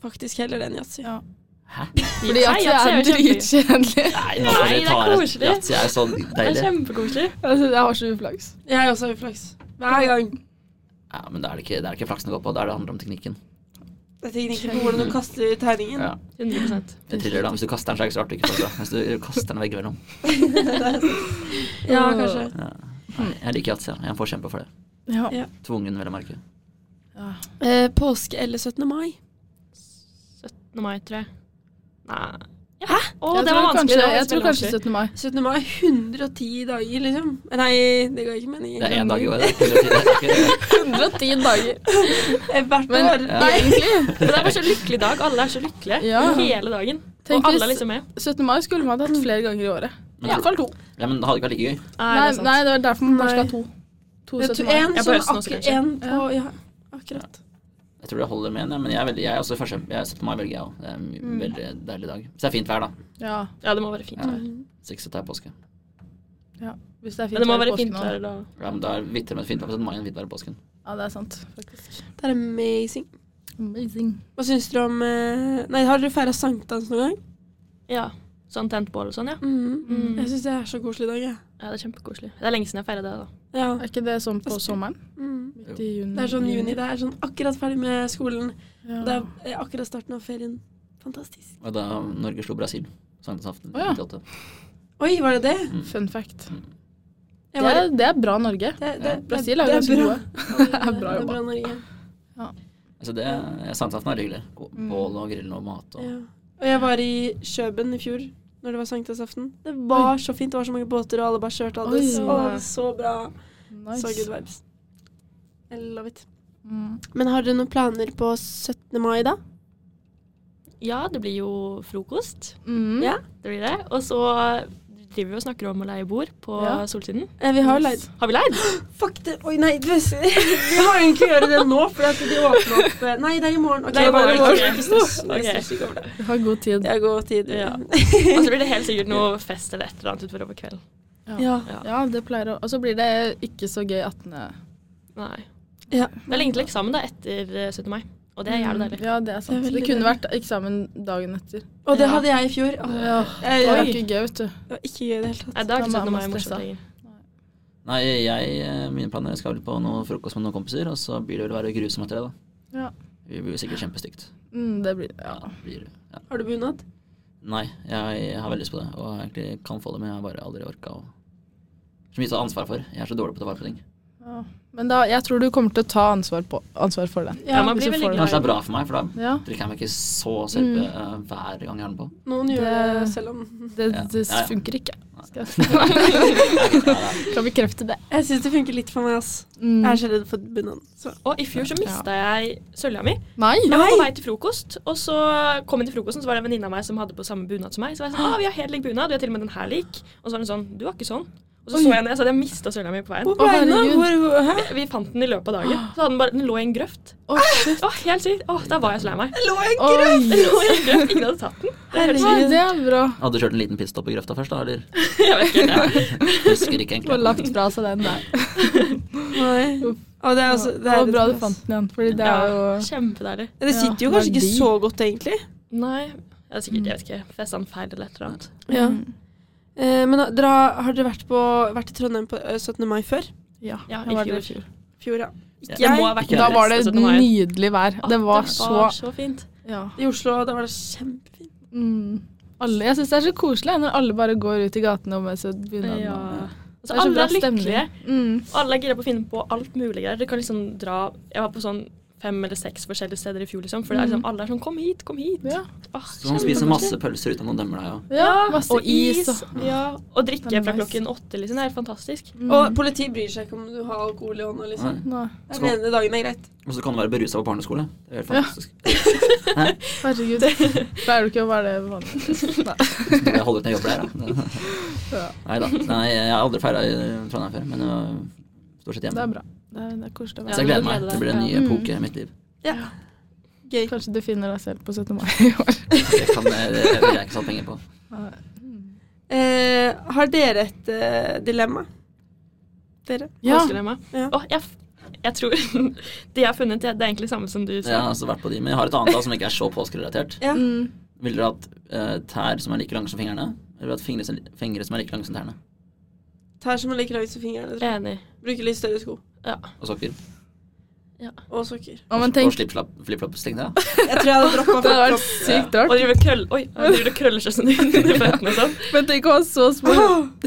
S1: Faktisk heller det enn yatzy.
S4: Ja.
S2: Hæ?
S4: Fordi at
S3: Nei, altså,
S4: jeg er
S3: jeg er kjempegøy.
S4: dritkjedelig.
S2: Nei, altså,
S3: nå skal vi (laughs) Nei, det er ta rett- koselig.
S2: Yatzy er så
S3: Det er
S2: deilig.
S3: kjempekoselig.
S4: (laughs) Altså, jeg har så uflaks.
S1: Jeg har også uflaks. Hver gang.
S2: Ja, men det er det ikke, det er det ikke flaksen det går på, det er det handler om teknikken.
S1: Jeg tenker ikke på hvordan du kaster tegningen.
S2: Ja.
S3: 100
S2: Det triller da, Hvis du kaster den, så er det ikke så rart du ikke får det. Hvis du kaster den veggimellom.
S1: Ja, kanskje.
S2: Nei, Jeg liker yatzy, ja. jeg er en forkjemper for det.
S4: Ja.
S1: Ja.
S2: Tvungen, vel å merke.
S1: Eh, påske eller 17. mai?
S3: 17. mai, tror jeg. Nei Hæ? Å,
S4: Jeg
S3: det var
S4: tror
S3: vanskelig.
S4: kanskje-
S3: det var
S4: Jeg tror
S3: veldig
S4: kanskje
S3: vanskelig.
S4: 17. mai.
S1: 17. mai er 110 dager, liksom. Nei, det ga ikke mening.
S2: Det er én dag i
S3: (laughs)
S2: året. det er ikke- det er ikke-
S4: 110 dager.
S1: Eh, Hvert
S4: Men
S1: år.
S2: Ja.
S4: nei, (laughs) egentlig.
S3: Men det er bare så lykkelig dag. Alle er så lykkelige
S4: Ja.
S3: hele dagen.
S4: Tenk
S3: og alle er
S4: hvis-
S3: liksom med.
S4: 17. mai skulle man hatt flere ganger i året.
S2: Men-
S4: Iallfall to.
S2: Ja, men det hadde ikke vært like gøy.
S3: Nei,
S4: Nei,
S3: det er sant.
S4: nei, det er derfor man kanskje
S1: Nei.
S4: skal ha to. To
S1: Det er
S4: 17.
S1: to-
S4: mai.
S1: en
S3: Ja, på
S1: sånn
S3: høsten også,
S1: akkur-
S3: kanskje.
S1: en på, ja, akkurat.
S2: Jeg tror det holder med en, ja, men jeg, er veldig- jeg er også første, jeg er 17. mai velger jeg òg. Det er en
S4: Mm.
S2: veldig deilig dag. Så det er fint vær, da.
S4: Ja,
S3: Ja, det må være fint
S2: Ja.
S3: vær.
S1: Mm.
S2: Så ikke så tar jeg påske.
S4: hvis det er fint
S3: Men det må
S4: vær i
S3: være
S4: påsken
S3: fint
S4: også.
S3: vær da.
S2: Ja, men da er det vittere med et fint vær på 17. mai enn fint vær i påsken.
S4: Ja, det er sant, faktisk.
S1: Det er amazing.
S4: Amazing.
S1: Hva syns dere om eh, Nei, har dere feira sankthans noen gang?
S3: Ja. Sånn tent bål og sånn, ja.
S1: Mhm.
S3: Mm.
S1: Jeg syns det er så koselig i dag, jeg.
S3: Ja, Det er kjempekoselig. Det er lenge siden jeg feira det, da.
S1: Ja.
S4: Er ikke det sånn på sommeren?
S1: Mm.
S4: Midt i juni?
S1: Det er sånn juni, det er sånn akkurat ferdig med skolen.
S4: Ja.
S1: Det er eh, akkurat starten av ferien. Fantastisk.
S2: Og da Norge slo Brasil. Sankthansaften
S4: Å, ja.
S2: 98.
S1: Oi, var det det?
S4: Fun fact.
S1: Jeg
S4: Det
S1: var-
S4: er, det er bra Norge.
S1: det-
S2: Ja.
S1: det-
S4: Brasil
S1: det
S4: er jo ganske
S1: bra. (laughs)
S4: gode.
S1: Det er
S4: bra jobba.
S1: Norge.
S2: Altså det, Sankthansaften er hyggelig. Gå-
S4: Mm.
S2: Bål og grill og mat og
S1: Ja. Og jeg var i Kjøben i fjor, når det var sankthansaften. Det var så fint, det var så mange båter, og alle bare kjørte. og Alle
S4: Oi.
S1: så, å, så bra. Så
S4: Nice.
S1: good vibes. I love it.
S4: Mm.
S1: Men har dere noen planer på 17. mai, da?
S3: Ja, det blir jo frokost.
S4: Mm.
S1: Ja.
S3: Det blir det. Og så driver vi og snakker om å leie bord på
S4: Ja.
S3: Solsiden.
S1: Eh, Vi har jo leid
S4: Yes.
S3: Har (laughs) vi leid?
S1: Fuck det! Oi, nei, du, (laughs) vi har jo egentlig å gjøre det nå, for at de åpner opp eh, Nei, det er i morgen. Ok,
S3: Det er i
S1: bare i
S3: morgen.
S1: morgen. Ikke stress.
S3: Ok.
S1: Jeg stresser ikke over det.
S4: Vi har god tid.
S1: Det er god tid.
S3: Ja. Og så blir det helt sikkert noe fest eller et eller annet utover på kvelden.
S1: Ja.
S4: Ja, det pleier å Og så blir det ikke så gøy 18.
S3: Nei.
S1: Ja.
S3: Det er lenge til eksamen da, etter eh, 17. mai, og det er jævlig deilig.
S4: Ja, det er sant.
S1: Det er
S4: Det,
S1: veldig deilig.
S4: kunne vært eksamen dagen etter.
S1: Og det hadde jeg i fjor. Åh,
S4: Ja. Det
S1: jeg,
S4: var
S1: jeg,
S4: ikke gøy, vet du.
S1: det var ikke gøy i det hele
S3: Nei,
S1: tatt.
S3: da er ikke
S4: Da
S3: 17. mai
S4: må man stresse.
S3: morsomt lenger.
S2: Nei, jeg, eh, mine planer jeg skal vel på noe frokost med noen kompiser, og så blir det vel være grusom etter det, da.
S4: Ja.
S2: Vi blir jo sikkert kjempestygt.
S4: Mm, det blir Ja.
S2: det blir, ja.
S1: Har du bunad?
S2: Nei, jeg har veldig lyst på det, og jeg egentlig kan få det, men jeg har bare aldri orka å Så mye å ta ansvar for. Jeg er så dårlig på å ta vare på ting.
S4: ja. Men da, jeg tror du kommer til å ta ansvar, på, ansvar for den.
S3: Ja, man
S4: hvis
S3: blir
S4: du
S3: veldig
S4: får den.
S3: glad.
S2: Kanskje det er bra for meg, for da
S4: Ja,
S2: drikker jeg meg ikke så serpe
S4: Mm.
S2: eh, hver gang jeg har den på.
S1: Noen gjør
S4: Det-
S1: det selv om
S4: det,
S2: Ja.
S4: det
S2: Ja, ja.
S4: funker ikke. Skal jeg
S2: Ja, det er-
S4: kan bekrefte det.
S1: (laughs) Jeg syns det funker litt for meg, ass.
S4: Mm.
S1: Jeg er så redd for bunad. Så.
S3: Og i fjor så mista jeg sølja mi.
S4: Nei!
S3: Jeg var på vei til frokost, og så kom jeg til frokosten, så var det en venninne av meg som hadde på samme bunad som meg. Så var jeg sånn, ah, vi har helt lik bunad, vi har til og med den her lik. Og så var hun sånn, du har ikke sånn. Og så så jeg henne, jeg sa at jeg mista sølja mi på veien.
S1: Hvor ble den av?
S4: herregud.
S1: Hvor, hvor, hæ?
S3: Vi fant den i løpet av dagen. Så hadde den bare, den lå i en Ah. grøft.
S4: Å, shit.
S3: Åh, helt sykt. Åh, da var jeg så lei meg.
S1: Lå jeg
S4: Oi.
S3: Den lå i en grøft, ingen hadde tatt den.
S4: Ja,
S1: Herregud.
S4: det er bra.
S2: Hadde du kjørt en liten pitstop i grøfta først, da, eller?
S3: Jeg vet ikke.
S2: Husker
S4: (laughs)
S2: ikke
S4: Og lagt
S2: egentlig.
S4: fra seg den der.
S1: Nei. Og det er altså
S4: Det var
S1: er-
S4: bra du fant den igjen, fordi det
S3: Ja,
S4: er jo
S3: kjempedeilig.
S1: Det sitter jo
S4: Ja,
S1: kanskje ikke
S4: verdi.
S1: så godt, egentlig.
S3: Nei, jeg er sikkert, jeg vet ikke, festa den feil eller et eller annet.
S1: Ja.
S4: Mm.
S1: Eh, men da- dere har, har dere vært, på, vært i Trondheim på eh, 17. mai før?
S4: Ja,
S3: Ja,
S4: jeg
S3: i
S4: var
S3: fjor.
S4: der.
S1: Fjor, ja.
S2: Jeg
S3: Jeg må ha vært
S4: Da var det
S3: dress, altså, den
S4: nydelig vær.
S3: Åh,
S4: Det var
S3: Det
S4: så
S3: var så fint.
S4: Ja.
S1: I Oslo, da var det kjempefint.
S4: Mm. Alle, jeg syns det er så koselig jeg, når alle bare går ut i gatene og med seg bunaden.
S3: Ja.
S4: og-
S3: Altså,
S4: Det er så
S3: alle
S4: bra
S3: er lykkelige.
S4: stemning. Mm.
S3: Og alle er gira på å finne på alt mulig greier. Dere kan liksom dra Jeg var på sånn fem eller seks forskjellige steder i fjor, liksom. For det er liksom, alle er sånn 'kom hit, kom hit'.
S4: Ja.
S3: Åh,
S2: Så man spiser masse pølser uten å dømme deg, og
S4: ja, masse
S3: og
S4: is.
S3: is.
S4: og-
S3: Ja, og drikke
S4: Det er
S3: fra
S4: nice.
S3: klokken åtte, liksom. Det er helt fantastisk.
S4: Mm.
S1: Og politiet bryr seg ikke om du har alkohol i hånda, liksom.
S4: Nei,
S1: Den ene dagen er greit.
S2: Og så kan du være berusa på barneskole. Det er helt fantastisk.
S3: (laughs)
S4: herregud. Pleier du ikke å være det vanlig? Nei.
S2: Så Jeg holder ut når jeg jobber der, da.
S4: (laughs) Ja.
S2: Nei da. Nei, jeg har aldri feira i Trondheim før, men øh, stort sett
S4: Det er
S2: hjemme.
S4: bra. Det er, det er koselig å
S3: Ja,
S2: Så
S4: være
S2: jeg
S3: du
S2: gleder
S3: må
S2: meg.
S3: glede
S2: Det
S3: deg.
S2: blir en ny
S4: Ja.
S2: epoke i mitt liv.
S1: Ja. Gøy.
S4: Kanskje du finner deg selv på 17. mai i år.
S2: Det kan jeg, det vil jeg ikke satt penger på.
S1: Eh, har dere et eh, dilemma? Dere?
S4: Ja.
S3: Påskelemma.
S1: Ja.
S3: Åh, jeg, f- jeg tror (laughs) Det jeg har funnet, det det er egentlig det samme som du
S2: Så jeg har
S3: sa.
S2: altså vært på de, men jeg har et annet da, som ikke er så påskerelatert.
S1: Ja.
S4: Mm.
S2: Vil dere at eh, tær som er like lange som fingrene, eller vil dere at fingre, som- fingre som er like lange som tærne?
S1: Tær som er like lange som fingrene. tror jeg.
S3: Enig.
S1: Bruker litt større sko.
S2: Og sokker.
S1: Og
S4: (laughs)
S1: sokker.
S4: Og man
S2: Og
S4: tenker
S2: slipflap- flipflops, tenkte jeg.
S1: Jeg tror jeg hadde droppa
S4: det hadde vært
S1: flipflop.
S4: sykt
S3: Og
S4: rart.
S3: driver og krøll, oi, og driver og krøller seg sånn (laughs) under føttene og sånn.
S4: Men tenk å ha så små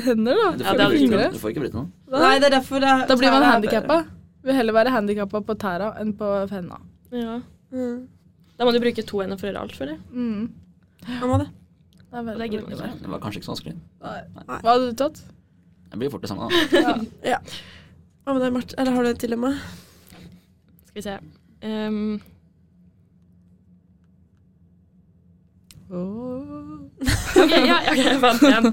S4: hender, da.
S2: Du
S3: Ja,
S2: får,
S3: det hadde
S2: ikke,
S4: fingre.
S2: blitt- du får ikke blitt noe.
S1: Nei, det er derfor det er
S4: Da blir man
S1: tæra er
S4: handikappa. Vil heller være handikappa på tæra enn på henda.
S3: Ja.
S1: bedre. Mm.
S3: Da må du bruke to hender for å gjøre alt, føler jeg.
S4: Mm.
S1: Man må det.
S4: Det er
S3: Det
S4: veldig,
S3: gidder
S4: veldig
S3: man
S4: bra.
S3: ikke.
S2: Det var kanskje ikke så vanskelig.
S4: Hva hadde du tatt?
S2: Jeg blir fort det samme, da.
S4: (laughs)
S1: Hva med deg, Marte? Eller har du et dilemma?
S3: Skal vi se. Ehm,
S4: Åh.
S3: (laughs) Ok, ja, (laughs) ok, jeg fant en.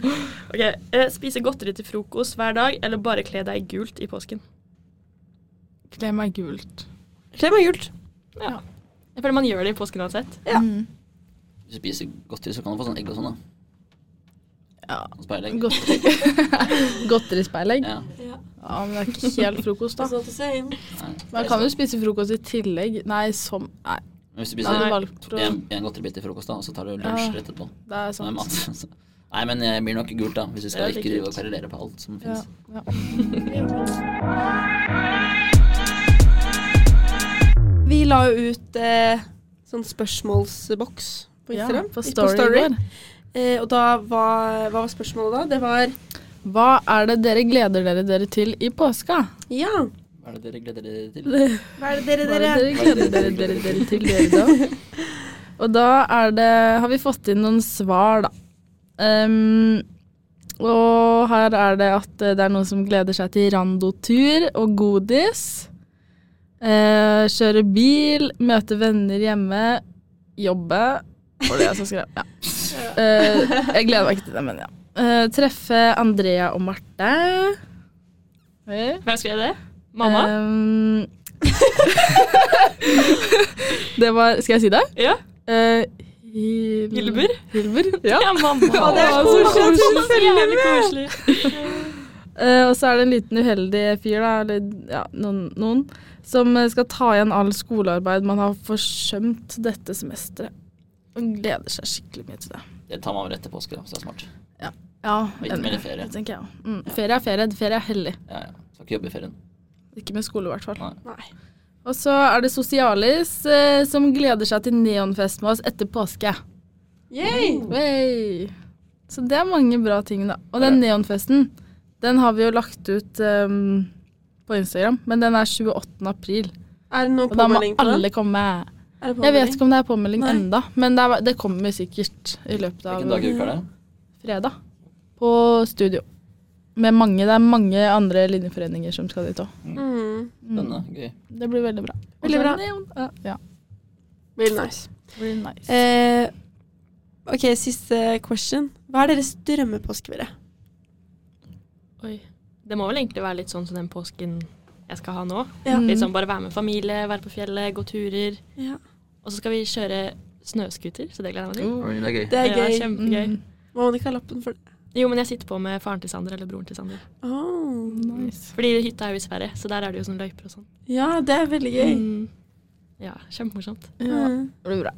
S3: Ok, eh, Spise godteri til frokost hver dag, eller bare kle deg i gult i påsken?
S4: Kle meg gult.
S1: Kle meg gult.
S3: Jeg føler man gjør det i påsken uansett.
S1: Ja.
S4: Mm.
S2: Hvis du spiser godteri, så kan du få sånn egg og sånn, da.
S4: Ja.
S2: Og speilegg.
S4: Godteri. (laughs) Godterispeilegg.
S2: Ja.
S4: Ja, men det er sånn ikke helt frokost, da.
S2: Nei.
S4: Man kan jo spise frokost i tillegg. Nei, som Nei.
S2: Men Hvis du
S4: Da hadde
S2: spiser
S4: du valgt fra
S2: en, en godteribit til frokost, da, og så tar du lunsj
S4: Ja.
S2: rett etterpå.
S4: Det er
S2: Nei,
S4: sant.
S2: mat. (laughs) Så- Nei, men jeg blir nok gult, da, hvis vi
S3: Ja,
S2: skal
S3: det er
S2: ikke drive
S3: kult.
S2: og parallere på alt som
S4: Ja,
S2: finnes.
S4: ja.
S1: Vi la jo ut eh, sånn spørsmålsboks på
S4: ja
S1: Instagram.
S4: på Story i går.
S1: Eh, og da var, hva var spørsmålet da? Det var
S4: Hva er det dere gleder dere dere til i påska?
S1: ja.
S2: Hva er det dere gleder dere til?
S1: Hva er det
S4: Hva er
S1: dere,
S4: det
S1: dere?
S4: dere gleder dere, dere, dere til dere da?
S1: (laughs)
S4: Og da er det, har vi fått inn noen svar, da. Ehm, og her er det at det er noen som gleder seg til randotur og godis. Eh, kjøre bil, møte venner hjemme, jobbe. Var det jeg som skrev? Ja. Eh, jeg gleder meg ikke til det, men ja. Eh, treffe Andrea og Marte. Hey.
S3: Hvem skrev det? Mamma?
S4: Ehm, (laughs) det var Skal jeg si det?
S3: ja.
S4: Eh, Hil-
S3: Hilbur?
S4: Hilbur, ja.
S3: Mm. Ja, (laughs) mamma.
S1: Ja, det er
S4: Å,
S1: koselig.
S4: så koselig.
S1: Selvfølgelig.
S3: Jævlig koselig.
S4: Eh, og så er det en liten uheldig fyr, da, eller ja, noen, noen, som eh, skal ta igjen all skolearbeid man har forsømt dette semesteret. Og gleder seg skikkelig mye til det.
S2: Det tar man vel etter påske, da, så det er smart.
S4: Ja,
S2: Og ikke
S4: enig.
S2: mer i ferie.
S4: Det tenker jeg også. Mm. Ferie er ferie. Ferie er hellig.
S2: Ja, ja. Skal ikke jobbe i ferien.
S4: Ikke med skole, i hvert fall.
S2: Nei.
S1: Nei.
S4: Og så er det Sosialis, eh, som gleder seg til neonfest med oss etter påske.
S1: Yay!
S4: Wey. Så det er mange bra ting, da. Og den neonfesten, den har vi jo lagt ut ehm, på Instagram, men den er 28. april.
S1: Er det noe
S4: Og da må
S1: påmelding på det?
S4: alle komme.
S1: Er det
S4: Jeg vet ikke om det er påmelding
S1: Nei.
S4: enda, men det, er, det kommer sikkert i løpet
S2: Hvilken dag
S4: av
S2: i uka er det?
S4: fredag på studio. Med mange, det er mange andre linjeforeninger som skal dit òg.
S1: Mm.
S2: Denne, gøy.
S4: Det blir veldig bra. Og
S1: Veldig
S4: så
S1: bra.
S4: Neon, ja, ja.
S1: Really nice.
S4: Really nice.
S1: Eh, ok, siste question. Hva er deres drømmepåskeferie?
S3: Oi. Det må vel egentlig være litt sånn som den påsken jeg skal ha nå.
S1: ja.
S4: Mm.
S3: Litt sånn bare være med familie, være på fjellet, gå turer.
S1: Ja.
S3: Og så skal vi kjøre snøskuter, så det gleder jeg meg til.
S2: Oi, Det er gøy.
S1: Det er
S3: Ja,
S1: gøy.
S3: kjempegøy.
S4: Mm.
S1: Må man ikke ha lappen for det?
S3: Jo, men jeg sitter på med faren til Sander eller broren til Sander.
S1: Åh.
S4: Nice.
S3: Fordi hytta er jo i Sverige, så der er det jo sånn løyper og sånn.
S1: Ja, det er veldig gøy.
S3: Mm. Ja, kjempemorsomt.
S4: Ja,
S1: Mm.
S4: det blir bra.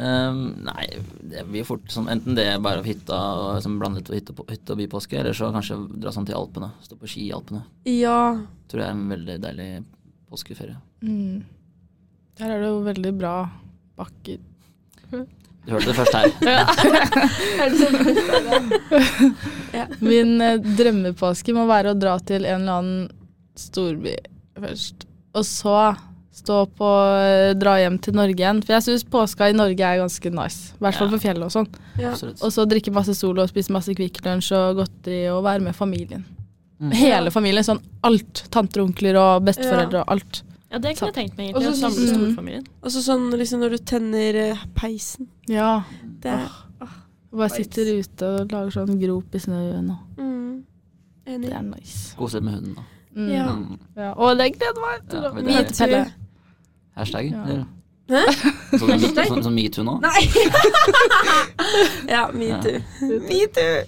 S2: Ehm, nei, det blir fort sånn enten det er bare hytta og som blandet på hytte, og på- hytte og bypåske, eller så kanskje dra sånn til Alpene. Stå på ski i Alpene.
S1: (laughs) Ja.
S2: Tror det er en veldig deilig påskeferie.
S4: Mm. Der er det jo veldig bra bakker.
S2: Du hørte det først her.
S1: sånn?
S4: (laughs) Min eh, drømmepåske må være å dra til en eller annen storby først. Og så stå på eh, dra hjem til Norge igjen. For jeg syns påska i Norge er ganske nice. I hvert fall
S2: Ja.
S4: på fjellet og sånn.
S1: (laughs) ja.
S2: Absolutt.
S4: Og så drikke masse sol og spise masse Kvikk Lunsj og godteri og være med familien. Hele familien. Sånn alt. Tanter og onkler og besteforeldre og alt.
S3: Ja, det kunne jeg tenkt meg egentlig.
S1: Og
S3: Å
S1: så-
S3: samle
S4: Mm.
S3: storfamilien.
S1: Og så sånn liksom når du tenner eh, peisen.
S4: Ja.
S1: Det er
S4: Og bare sitter ute og lager sånn grop i snøen og
S1: mm.
S4: Det
S1: Enig.
S4: er nice.
S2: Kose med hunden, da.
S4: Mm.
S1: Ja.
S2: Mm.
S4: Ja. Og det gleder meg til.
S2: Ja,
S4: å-
S2: men
S4: Mye
S2: det er-
S4: til Pelle.
S2: Hashtag?
S4: Ja.
S2: eller?
S1: Hæ?
S2: Sånn
S1: Hashtag?
S2: sånn- sånn metoo nå?
S1: Nei! ja, (laughs) metoo. Metoo!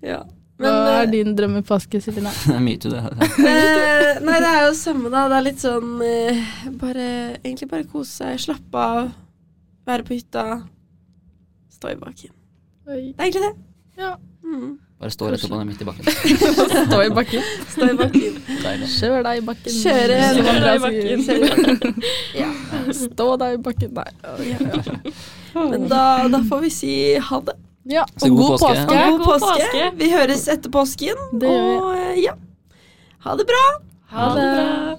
S1: Ja.
S4: Hva
S1: Men
S4: er din drømmepåske, Silina?
S2: Det er (laughs) metoo, det.
S1: eh, Nei, det er jo samme, da. Det er litt sånn eh, bare, Egentlig bare kose seg, slappe av, være på hytta, stå i bakken. Det er egentlig det.
S4: Ja.
S1: Mm.
S2: Bare stå rett opp og ned midt i bakken.
S4: (laughs) Stå i bakken.
S1: Stå i bakken.
S2: Deilig.
S4: Kjør deg i bakken.
S1: Kjøre
S4: Som
S3: Kjør
S4: Andreas
S3: deg i
S4: sier. (laughs)
S3: bakken.
S1: Selv i bakken.
S4: Stå deg i bakken. Nei.
S1: Men da, da får vi si ha det.
S4: Ja,
S2: Så
S4: og
S2: god
S4: god
S2: påske.
S4: påske.
S1: Og
S3: Ja,
S1: god
S3: god
S1: påske.
S3: påske.
S1: Vi høres etter påsken.
S4: Det gjør vi.
S1: Og eh, ja. Ha det bra.
S3: Ha det bra!